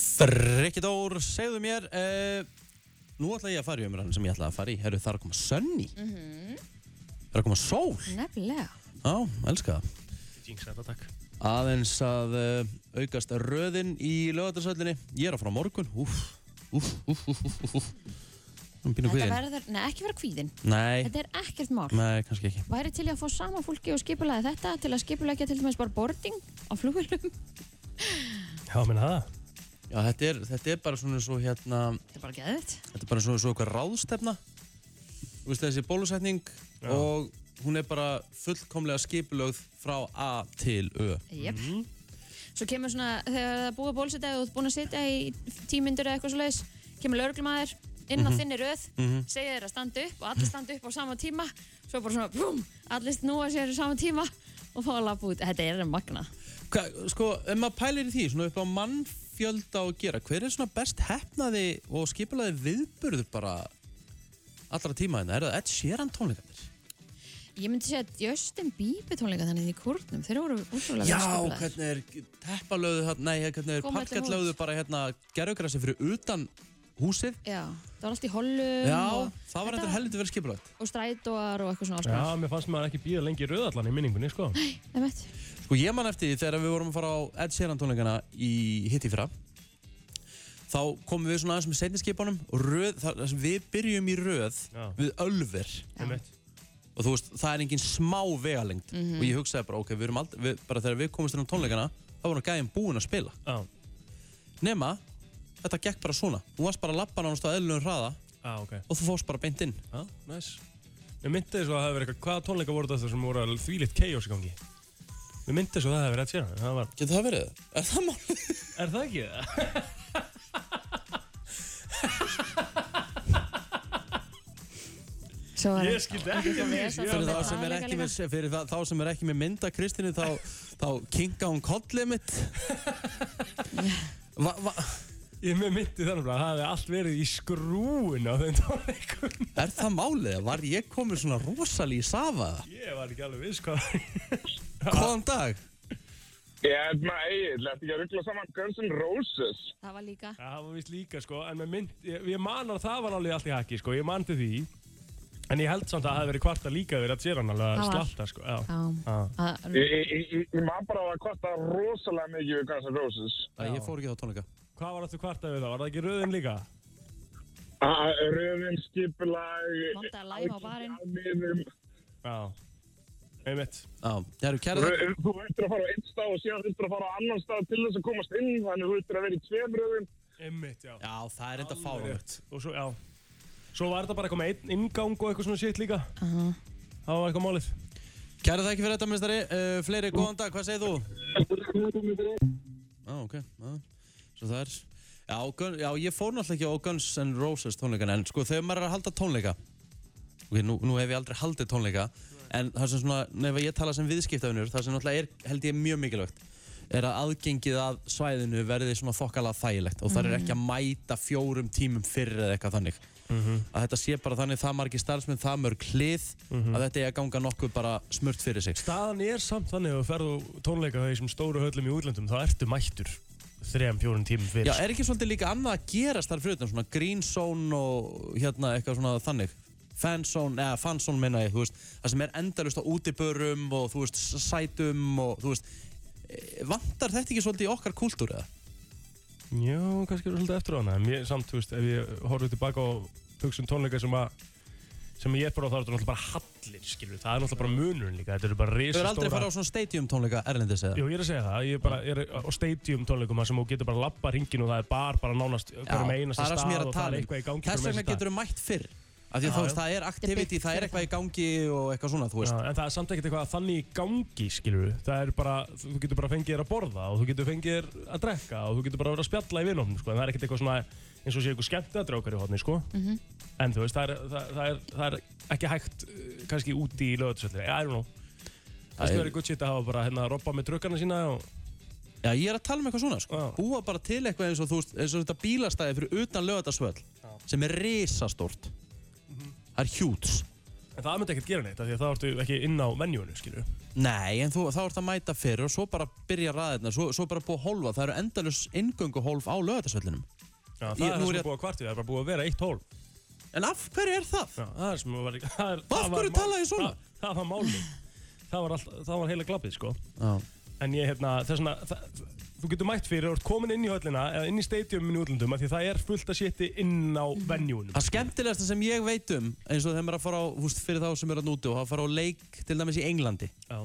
A: staðinn Frikkidór, segðu mér eh, Nú ætla ég að fara í umræðan sem ég ætlaði að fara í Herru, það er að koma sönni,
C: Mhm.
A: það er að koma sól
C: Nefnilega.
A: Já, elska það
B: Jinx, þetta takk.
A: aðeins að uh, aukast röðin í lögatarsöllinni ég er að fara á morgun úf, úf, úf, úf, úf, úf, úf. Nú býnum
C: Þetta
A: við
C: verður, nei, ekki vera kvíðin.
A: Nei.
C: Þetta er ekkert mál.
A: Nei, kannski ekki
C: væri til í að fá sama fólki og skipulaði þetta til að skipulækja til dæmis bara boarding á flugulum
B: Já, minna það
A: Já, þetta er, þetta er bara svona svo hérna
C: Þetta er bara geðið
A: Þetta er bara svona svo eitthvað ráðstefna Þú veist þessi bólusetning og hún er bara fullkomlega skipulögð frá A til Ö
C: Jep
A: Mhm.
C: Svo kemur svona, þegar það er búið að bólusetja og þú ert búin að sitja í tímyndur eða eitthvað svoleiðis kemur lögreglumæður inn á
A: Mhm.
C: þinni röð
A: Mhm.
C: segir þeir að standa upp og allir standa upp á sama tíma svo bara svona, búm, allir snúa sér á sama tíma og fá að lappa út Þetta er magna
A: Hva, Sko, ef maður pælir í því, svona upp á mann fjölda á að gera, hver er svona best hefnaði og skipulaði viðburður bara allra tíma hérna? Er það Ed Sheeran tónleikarnir?
C: Ég myndi segja að Justin Bieber tónleika þannig í kórnum, þeir voru útrúlega
A: Já,
C: vel skipulaðir.
A: hvernig er teppalöðu hérna, nei, hvernig er
C: Kom öllum
A: parkettlöðu bara hérna gerðugrassi fyrir utan húsið?
C: Já, það var allt í hollum
A: Já,
C: Um, og,
A: það var
C: Þetta-
A: eitthvað heldur verið skipulagt.
C: og strætóar og eitthvað svona alls
B: Já,
C: konar.
B: mér fannst maður ekki býða lengi í rauðallan í minningunni, sko.
C: Það er mitt.
A: Sko ég man eftir því þegar við vorum að fara á Ed Sheeran tónleikana í hitt í fyrra þá komum við svona aðeins með setniskipunum og röð, þar, þar sem við byrjum í röð við ölver og þú veist, það er engin smá vegalengd
B: Mhm.
A: og ég hugsaði bara, ok, við erum aldrei við, bara þegar við komumst inn á tónleikana þá vorum gæðin búin að spila
B: Já.
A: nema, þetta gekk bara svona þú varst bara að labba nánast á eðlunum hraða
B: Já, ok.
A: og þú fórst bara beint inn
B: Já, næs. Mér myndi þess að það hefði verið eitthvað, hvaða tónleika voru þetta sem voru alveg þvílitt chaos í gangi? Mér myndi þess að það hefði verið Ed Sheeran, en það var...
A: Getur það verið? Er það mál?
B: Er það ekki það?
C: Svo var
B: Ég skildi ekki
C: Ekki
B: því,
C: lesa
B: ég-
A: fyrir,
C: svona
A: þá sem er
C: tónleika
A: ekki
C: líka.
A: með, fyrir það, þá sem er ekki með mynda Kristínu þá, þá kinga hún kollið mitt va, va,
B: Ég mér myndi þannig bara að það hefði allt verið í skrúin á þeim tónleikum.
A: Er það málið? Var ég komið svona rosalí í safaða?
B: Ég var ekki alveg viss hvað
A: Góðan dag
L: Ég held maður eigin, lefði ekki að ruggla saman Guns N' Roses.
C: Það var líka.
B: Það var vist líka sko, en mér mynd, ég, ég man að það var alveg allt í haki sko, ég man til því. En ég held samt að það hefði verið kvarta líka verið að sér hann alveg að
L: Það var.
B: slatta sko. Já.
C: Já.
L: Ég, ég, ég, ég- ég maður bara að það kosta rosalega mikið við Guns N' Roses.
A: Æ, ég fór ekki á tónleika.
B: Hvað var þetta kvarta við það? Var það ekki röðin líka?
L: Ah, Röðin, skipulag...
C: Vandaði læma á barinn.
L: Miðum.
B: Já. Einmitt.
A: Já, það eru kæra
L: Rö- Þú ættir að fara á einn stað og síðan þurftir að fara á annan stað til þess að komast inn, þannig þú ættir að vera í tveim röðum.
B: Einmitt, já.
A: Já, það er enda
B: fáránlegt. Og svo, já. Svo var þetta bara eitthvað með einn inngang og eitthvað svona shit líka. Það var eitthvað málið.
A: Kæra þakki fyrir þetta, minnstari. Uh, fleiri, góðan dag, hvað segir þú? Já, ok. Já. Svo það er... Já, Gun, já, ég fór náttúrulega ekki á Guns N' Roses tónleikana, en sko þegar maður er að halda tónleika, ok, nú, nú hef ég aldrei haldið tónleika, en það sem svona, nefn að ég tala sem viðskiptaunur, það sem náttúrulega er, held ég, mjög mikilvægt, er að aðgengið að svæðinu verði svona þokkalað þægilegt og það er ekki að mæta fjórum tímum fyrir eða eitthvað þannig. Að þetta sé bara þannig það margir starfsmenn, það mörg hlið, að þetta er að ganga nokkuð bara smurt fyrir sig.
B: Staðan er samt þannig að þú ferðu á tónleika í þessum stóru höllum í útlöndum, þá ertu mættur þrejum, fjórum tímum fyrir.
A: Já, er ekki svolítið líka annað að gerast þar fyrir utan, svona green zone og hérna eitthvað svona þannig fanzone, eða fanzone minna ég, þú veist það sem er endalust á útibörum og þú veist, s- sætum og þú veist eh, vantar þetta ekki svolítið í okkar kultúr eða?
B: Já, kannski eru svolítið eftir á hana en ég, samt, þú veist, ef ég horfið tilbaka og hugsa um tónleika sem að sem ég er bara á þá er þetta náttúrulega bara hallir skilur, við. það er náttúrulega bara munurinn líka þetta eru bara
A: Þú
B: risastóra
A: er aldrei farið á svona stadium tónleika Erlendis eða?
B: Jú, ég er að segja það, ég er bara ég er á stadium tónleikum þar sem þú getur bara lappa hringin og það er bar bara nánast hverjum einasta
A: það er það sem ég
B: stað
A: er
B: og
A: að
B: það er
A: tala
B: eitthvað í
A: um
B: gangi hverjum
A: þess vegna
B: einasta stað.
A: getur við mætt fyrr af því
B: Já,
A: að þú veist,
B: já.
A: það er activity, það er eitthvað í gangi og eitthvað svona, þú
B: Já,
A: veist
B: en það er samt ekkert eitthvað þannig í gangi, skilur við. Það er bara, þú þú getur bara fengið þér að borða og þú getur fengið þér að drekka og þú getur bara verið að spjalla í vinofnum, sko. En það er ekkert eitthvað svona eins og sé eitthvað skemmtadrákar í hotni, sko.
M: Mhm.
B: En þú veist, það er, það, það er, það er ekki hægt uh, kannski úti í lögatisöldu. I don't know. Það
A: er-
B: er verið gutt shit að hafa bara hérna robba með trukkana sína og...
A: Já, ég er að tala um eitthvað svona, sko. Búa bara til eitthvað eins og, þú veist, eins og þetta bílastæði fyrir utan lögatarsvöll, sem er risastórt.
B: Mhm.
A: Það er hjúts.
B: En það myndi ekkert gera neitt, af því að það ertu ekki inn á menjunu, skilur við.
A: Nei, en þú, þá ert að mæta fyrir og svo bara byrja raðirna, svo, svo bara búið að hólfa. Það eru endalus inngönguhólf á lögatarsvöllinum.
B: Já, það
A: Ég- nú
B: er það
A: er
B: sem
A: ég-
B: er búið að kvartið, það er bara búið að vera eitt hól.
A: En af hverju er það?
B: Já, það er sem var... Það er,
A: Af hverju talaði ég svona?
B: Það, það var málið. Það var, all, það var heila glappið, sko.
A: Já.
B: En ég, hérna, það er svona... Það, þú getur mætt fyrir, þú ert komin inn í höllina eða inn í stadiumin í útlöndum, af því það er fullt að sétti inn á
A: Mhm.
B: venjunum.
A: Það skemmtilegasta sem ég veit um, eins og þegar maður er að fara á, þú veist, fyrir þá sem eru að núti og að fara á leik, til dæmis í Englandi,
B: Já.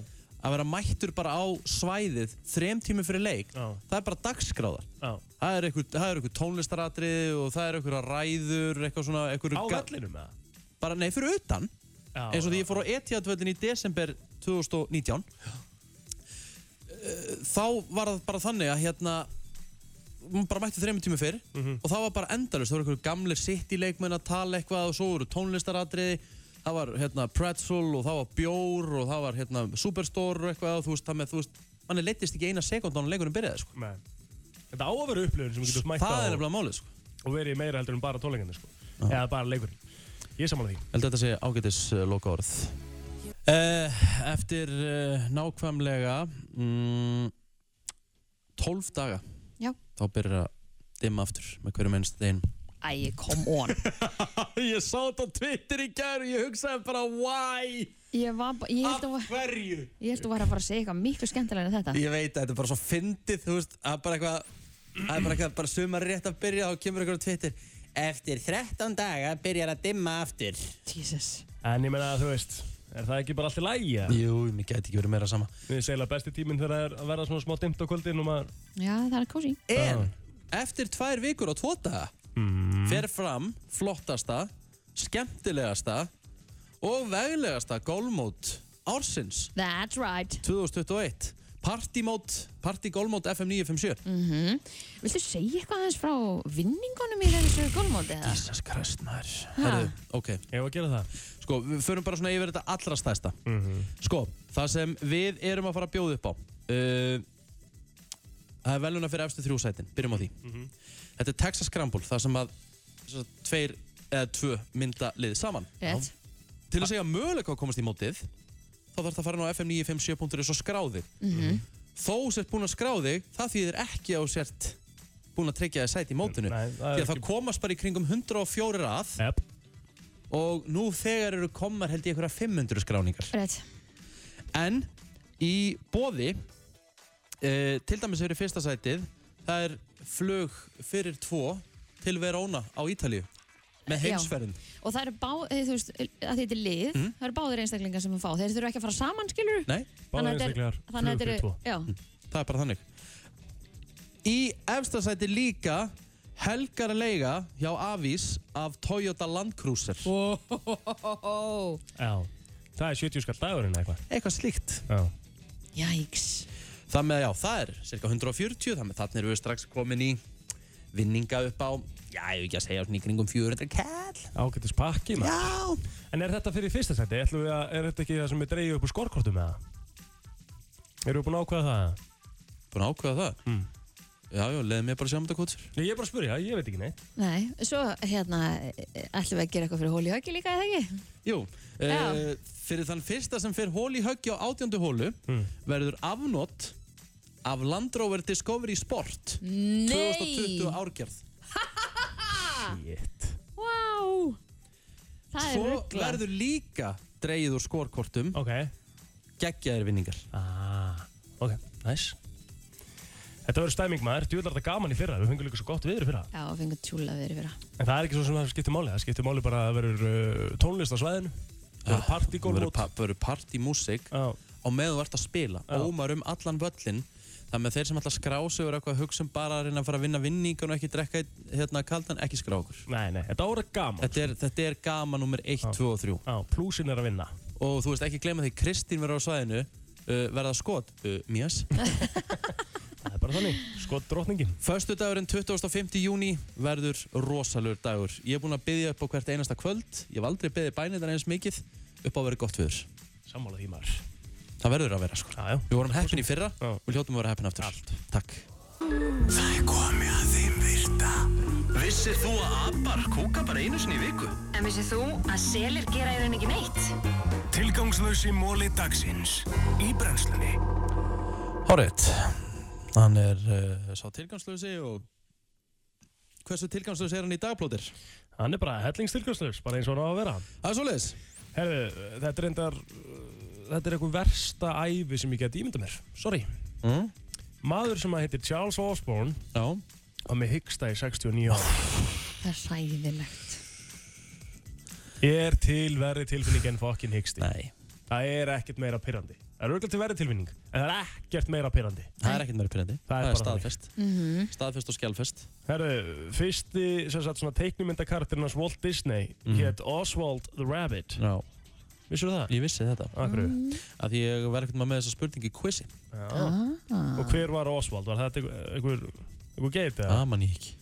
A: að vera mættur bara á svæðið þrem tími fyrir leik,
B: Já.
A: það er bara dagskráðar.
B: Já.
A: Það er einhver, það er einhver tónlistaratriði og það er einhver ræður, eitthvað svona, einhver...
B: Á
A: ga-
B: vellinum, eða?
A: Bara, nei, fyrir utan.
B: Já,
A: eins og því ég fór á Etihadvöllin í desember 2019. Eh, Þá var það bara þannig að hérna, maður bara mætti þreymur tími fyrr
B: Mhm.
A: og það var bara endalust, það voru einhverju gamlir city leikmenn að tala eitthvað og svo voru tónlistaratriði það var hérna pretzel og það var bjór og það var hérna superstore og eitthvað og þú veist, það með, þú veist, manni leittist ekki eina sekund á hann leikunum byrjaði, sko
B: Nei. Þetta á að vera upplifun sem þú getur mætt á
A: Það er
B: nefnilega
A: málið sko
B: Og verið meira heldur en bara tólengarnir sko Eða bara leikurinn Ég er sammála því
A: held að þetta sé ágætis uh, loka orð uh, Eftir uh, nákvæmlega mm, 12 daga
C: Já.
A: þá byrjar að dimma aftur með hverju mennst þeim
C: Æ, come on
A: Ég sá þetta á Twitter í gær og ég hugsaði bara why
C: Ég var bara, ég held að
A: Af hverju?
C: Ég held að þú var að fara að segja eitthvað miklu skemmtilega en þetta
A: Ég veit að þetta er bara svo fyndið, þú veist, að bara eitthvað, að bara eitthvað, bara sumar rétt að byrja og kemur eitthvað á Twitter. Eftir 13 daga byrjar að dimma aftur.
C: Jesus.
B: En ég meina þú veist Er það ekki bara allt í lægi?
A: Jú, mér gæti ekki verið meira sama
B: Við segla besti tíminn þegar það er að verða svona smá dimmt á kvöldin og maður
C: Já, það er kósi
A: En eftir tvær vikur og tvo daga fer fram flottasta, skemmtilegasta og veglegasta gólmót ársins
C: That's right
A: 2021. Partymót, partygólmót FM 957.
C: mm Viltu segja eitthvað aðeins frá vinningunum í þessu gólmóti eða?
A: Jesus Christ maður
C: Ha?
A: Herru, ok Ég var að gera það Sko, við förum bara svona yfir þetta allra stæsta Sko, það sem við erum að fara að bjóða upp á uh, Það er veluna fyrir efstu þrjú sætin Byrjum á því Þetta er Texas Scramble Það sem að sem sagt, tveir eða tvö mynda liðið saman
C: Rétt.
A: Til að segja möguleika að komast í mótið Þá þarf það að fara inn á fm957.is og skráði
C: Mhm.
A: Þó sért búin að skráði Það þýðir ekki að þú sért búin að tryggja þér sæti í mótinu því að það komast bara í kringum 104 að
B: yep.
A: og nú þegar eru komar held ég einhverja 500 skráningar
C: Rétt.
A: en í bóði e, til dæmis fyrir fyrsta sætið það er flug fyrir tvo til Verona á Ítalíu með
C: Já.
A: heimsferðin
C: Og það eru bá, eh, þú veist, að þetta er lið
A: Mhm.
C: Það eru báðir einstaklingar sem að fá Þeir þurfa ekki að fara saman, skilur
A: Nei,
C: Þannig að þetta er- þannig að þetta eru- Já,
A: það er bara þannig í efsta sæti líka helgar að leiga hjá Avís af Toyota Land Cruiser
C: oh.
B: Já Það er 70 skall dagurinn eitthvað
A: eitthvað slíkt
B: Já
C: Jæks
A: Það með, já, það er cirka 140 Þannig þannig erum við strax komin í vinninga upp á Já, ég hef ekki að segja svona í kringum 400 kall
B: Ágættis pakki maður
A: Já
B: En er þetta fyrir fyrsta seti? Ætlum við að, er þetta ekki það sem við dreigum upp úr skorkortum eða? Erum við búin að ákveða það?
A: Búin að ákveða það?
B: Mm.
A: Já, já, leiðum ég bara sjá um þetta kvotsir
B: Nei, ég er bara að spyrja, ég veit ekki neitt
C: Nei, svo hérna eh, ætlum við að gera eitthvað fyrir hóli höggi líka, eða ekki?
A: Jú, uh,
C: Já.
A: fyrir þann fyrsta sem fyrir hóli höggi á átjöndu hólu verður afnót af Land Rover Discovery Sport
C: Nei!
A: 2020 árgerð Shit
C: Vá! Það er
A: Svo
C: ruggla.
A: verður líka dreigið úr skorkortum
B: okay.
A: Geggjaðir vinningar
B: ah, Ok, næs Þetta verður stæming maður, djúðlar þetta gaman í fyrra Við fengum líka svo gott viður í fyrra
C: Já, við fengum tjúla verið fyrir það.
B: En það er ekki svo sem það skiptir máli Það skiptir máli bara að það verður uh, tónlist á svæðinu Það Ah, verður partygólmót
A: Það verður partymúsík á meðan þú ert að spila ómar um allan völlin þannig að þeir sem alltaf skrá sig og eru eitthvað að hugsa um bara að reyna að fara að vinna vinningan og ekki drekka einn, hérna kaldan, ekki skrá okkur
B: Nei, nei, þetta ára gaman
A: Þetta er, þetta er gaman nummer 1, 2 og 3
B: Já, plúsin er að vinna
A: Og þú veist ekki gleyma því, Kristín verður á svæðinu uh, verða skot, uh, mjöss
B: Það er bara þannig, skot drottningin
A: Föstudagurinn 25. júni verður rosalur dagur Ég er búinn að byggja upp á hvert einasta kvöld Ég hef aldrei byggðið bænir eins mikið upp á að vera gott viður
B: Sammála því maður
A: Það verður að vera sko
B: já, já.
A: Við vorum heppin í fyrra, við hljótum að vera heppin aftur Allt. Takk
E: Það er komið að þeim virta Vissir þú að abar kúka bara einu sinni í viku?
D: En vissið þú að selir gera í raun ekki neitt?
E: Tilgangslösi móli dagsins Í brennslunni
A: Hárið, hann er uh, sá tilgangslösi og hversu tilgangslösi er hann í dagplótir?
B: Hann er bara hellingstilgangslaus, bara eins og hann á að vera
A: Það er svoleiðis
B: Herðu, þetta er endar Þetta er eitthvað versta ævi sem ég get ímynda mér Sorry
A: mm?
B: Maður sem að heitir Charles Osborne
A: Já
B: Var með hyggsta í 69 ára
C: Það er hræðilegt.
B: Er til verri tilfinning en fokkin hyggsti
A: Nei
B: Það er ekkert meira pyrrandi Það er auðvitað til verri tilfinning En það er ekkert meira pyrrandi
A: Það er ekkert meira pyrrandi Það er
B: bara þannig.
A: staðfest Staðfest og skjálfest
B: Herru, fyrsti sem sagt svona teiknumyndakarakterinn hans Walt Disney
A: Mhm.
B: mm. hétt Oswald the Rabbit
A: Já
B: Vissur það?
A: Ég vissi þetta
B: Af hverju? Mm.
A: Af því ég var ekkert maður með þessa spurningi í quizi
B: ah. Og hver var Oswald? Var þetta einhver- einhver, einhver geit eða?
A: Ah, mann ég ekki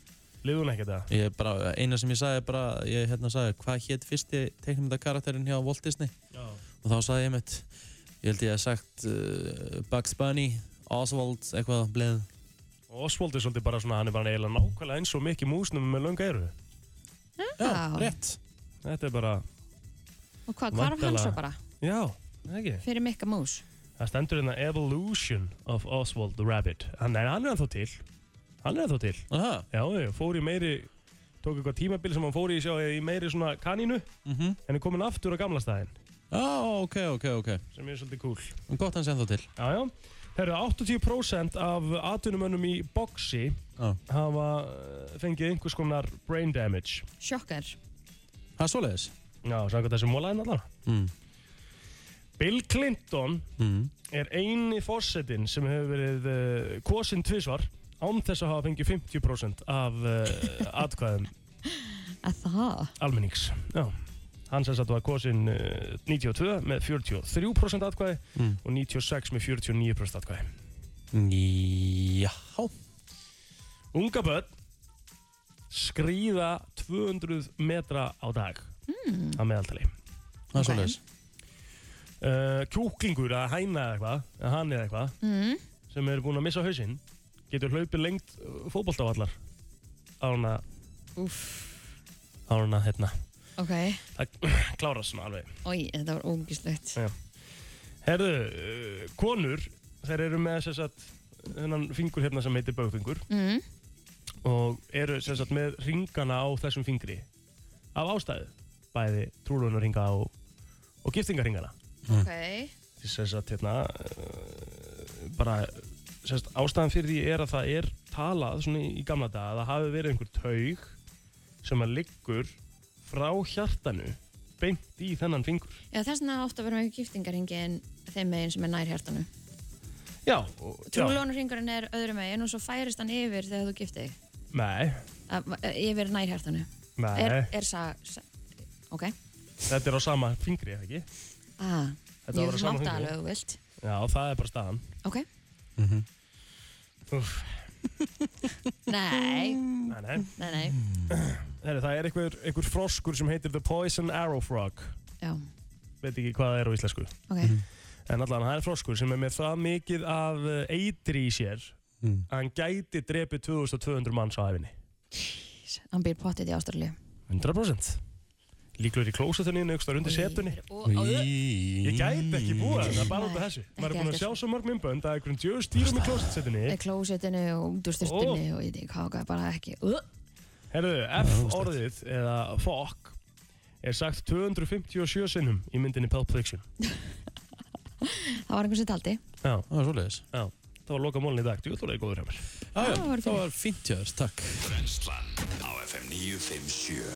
B: Lifði hún ekkert eða?
A: Ég bara, eina sem ég sagði bara, ég hérna sagði hvað hétt fyrsti teiknumynda karakterinn hjá Walt Disney
B: Já.
A: og þá sagði ég mitt, ég held ég að sagt uh, Bugs Bunny, Oswald, eitthvað bleið
B: Oswald er svolítið bara svona, hann er bara eiginlega nákvæmlega eins og mikið músnum með lönga eru.
C: Já,
B: rétt. Þetta er bara,
C: Og hvað, hvarf hann svo
B: Væntanlega.
C: bara?
B: já, er ekki.
C: Fyrir Mikka Mús.
B: Það stendur hérna Evolution of Oswald the Rabbit. Hann er, hann er ennþá til. Hann er ennþá til.
A: Aha.
B: Já, já, fór í meiri, tók eitthvað tímabil sem hann fór í, sjá, í meiri svona kanínu, en er komin aftur á gamla staðinn.
A: mhm. Já, ok, ok, ok.
B: Sem er svolítið cool.
A: En gott hans ennþá til.
B: Já, já. Herru, 80% af atvinnumönnum í boxi hafa eh, fengið einhvers konar brain damage.
C: Sjokkar.
A: Það er svoleiðis.
B: Já, samkvæmt þessi mólæðin allan.
A: Mm.
B: Bill Clinton
A: Mm.
B: er eini fórsetin sem hefur verið uh, kosin tvísvar án þess að hafa fengið 50% af uh, atkvæðum
C: Að það?
B: almennings. Já. Hann sem sagt var kosin uh, 92 með 43% atkvæði og 96 með 49% atkvæði.
A: Já.
B: Unga börn skrýða 200 metra á dag
A: Mm.
B: að meðaltali.
A: Það er svoleiðis.
B: Uh, kjúklingur að hæna eða eitthvað, eða hann eða eitthvað,
C: Mm.
B: sem eru búin að missa hausinn, getur hlaupið lengt uh, fótboltavallar á hana,
C: Úff,
B: á hana, hérna.
C: ok.
B: Það klárast svona alveg.
C: Ói, þetta var ógislegt.
B: Já. Herðu, uh, konur, þær eru með þess að, hennan fingur hérna sem heitir bögfingur,
C: Mm.
B: og eru sem sagt með ringana á þessum fingri af ástæðu bæði trúlunarringa og, og giftingarringana
C: Ok.
B: því sem sagt hérna eh, bara sem sagt, ástæðan fyrir því er að það er talað svona í gamla daga að það hafi verið einhver taug sem að liggur frá hjartanu beint í þennan fingur
C: Já, þess vegna ofta verðum við giftingarringi en þeim megin sem er nær hjartanu.
B: Já, og, já.
C: Trúlónurringurinn er öðru megin og svo færist hann yfir þegar þú giftið þig.
B: Nei,
C: Að- að- Yfir nær hjartanu.
B: nei
C: Er, er sa, sa... Ok.
B: þetta er á sama fingri, eða ekki?
C: Ah,
B: Þetta var
C: jú,
B: á
C: þú
B: sama
C: mátt
B: fingri.
C: það alveg ef þú vilt.
B: Já, það er bara staðan
C: Ok.
A: Mhm,
B: Úff,
C: Nei.
B: nei, nei
C: Nei, nei.
B: Herri, það er einhver, einhver froskur sem heitir The Poison Arrow Frog
C: Já,
B: veit ekki hvað það er á íslensku
C: ok.
B: en allan það er froskur sem er með það mikið af eh, eitri í sér
A: mm.
B: að hann gæti drepið 2200 manns á æfinni
C: Hann býr pottið í Ástralíu.
B: 100% líklegur í klósetunni nöggstar undir setunni
A: Í-
B: ég gæti ekki búa þetta bara út af þessu
C: Nei,
B: maður er búin að
C: ekki
B: sjá svo mörg myndbönd að einhverjum djöðu stýrum í klósetsetunni
C: Í klósettinu og út úr styrtunni og ég veit ekki hvað og hvað, bara ekki. Uh.
B: Herðu, F orðið eða fuck er sagt 257 sinnum í myndinni Pulp Fiction
C: Það var einhvern sem taldi.
B: Já,
A: það var svoleiðis
B: Já, það var loka mólin í dag, þú ætlaði góður hjá mér
A: Já, já, það var fínt hjá þér, takk.
E: Brennslan á FM 957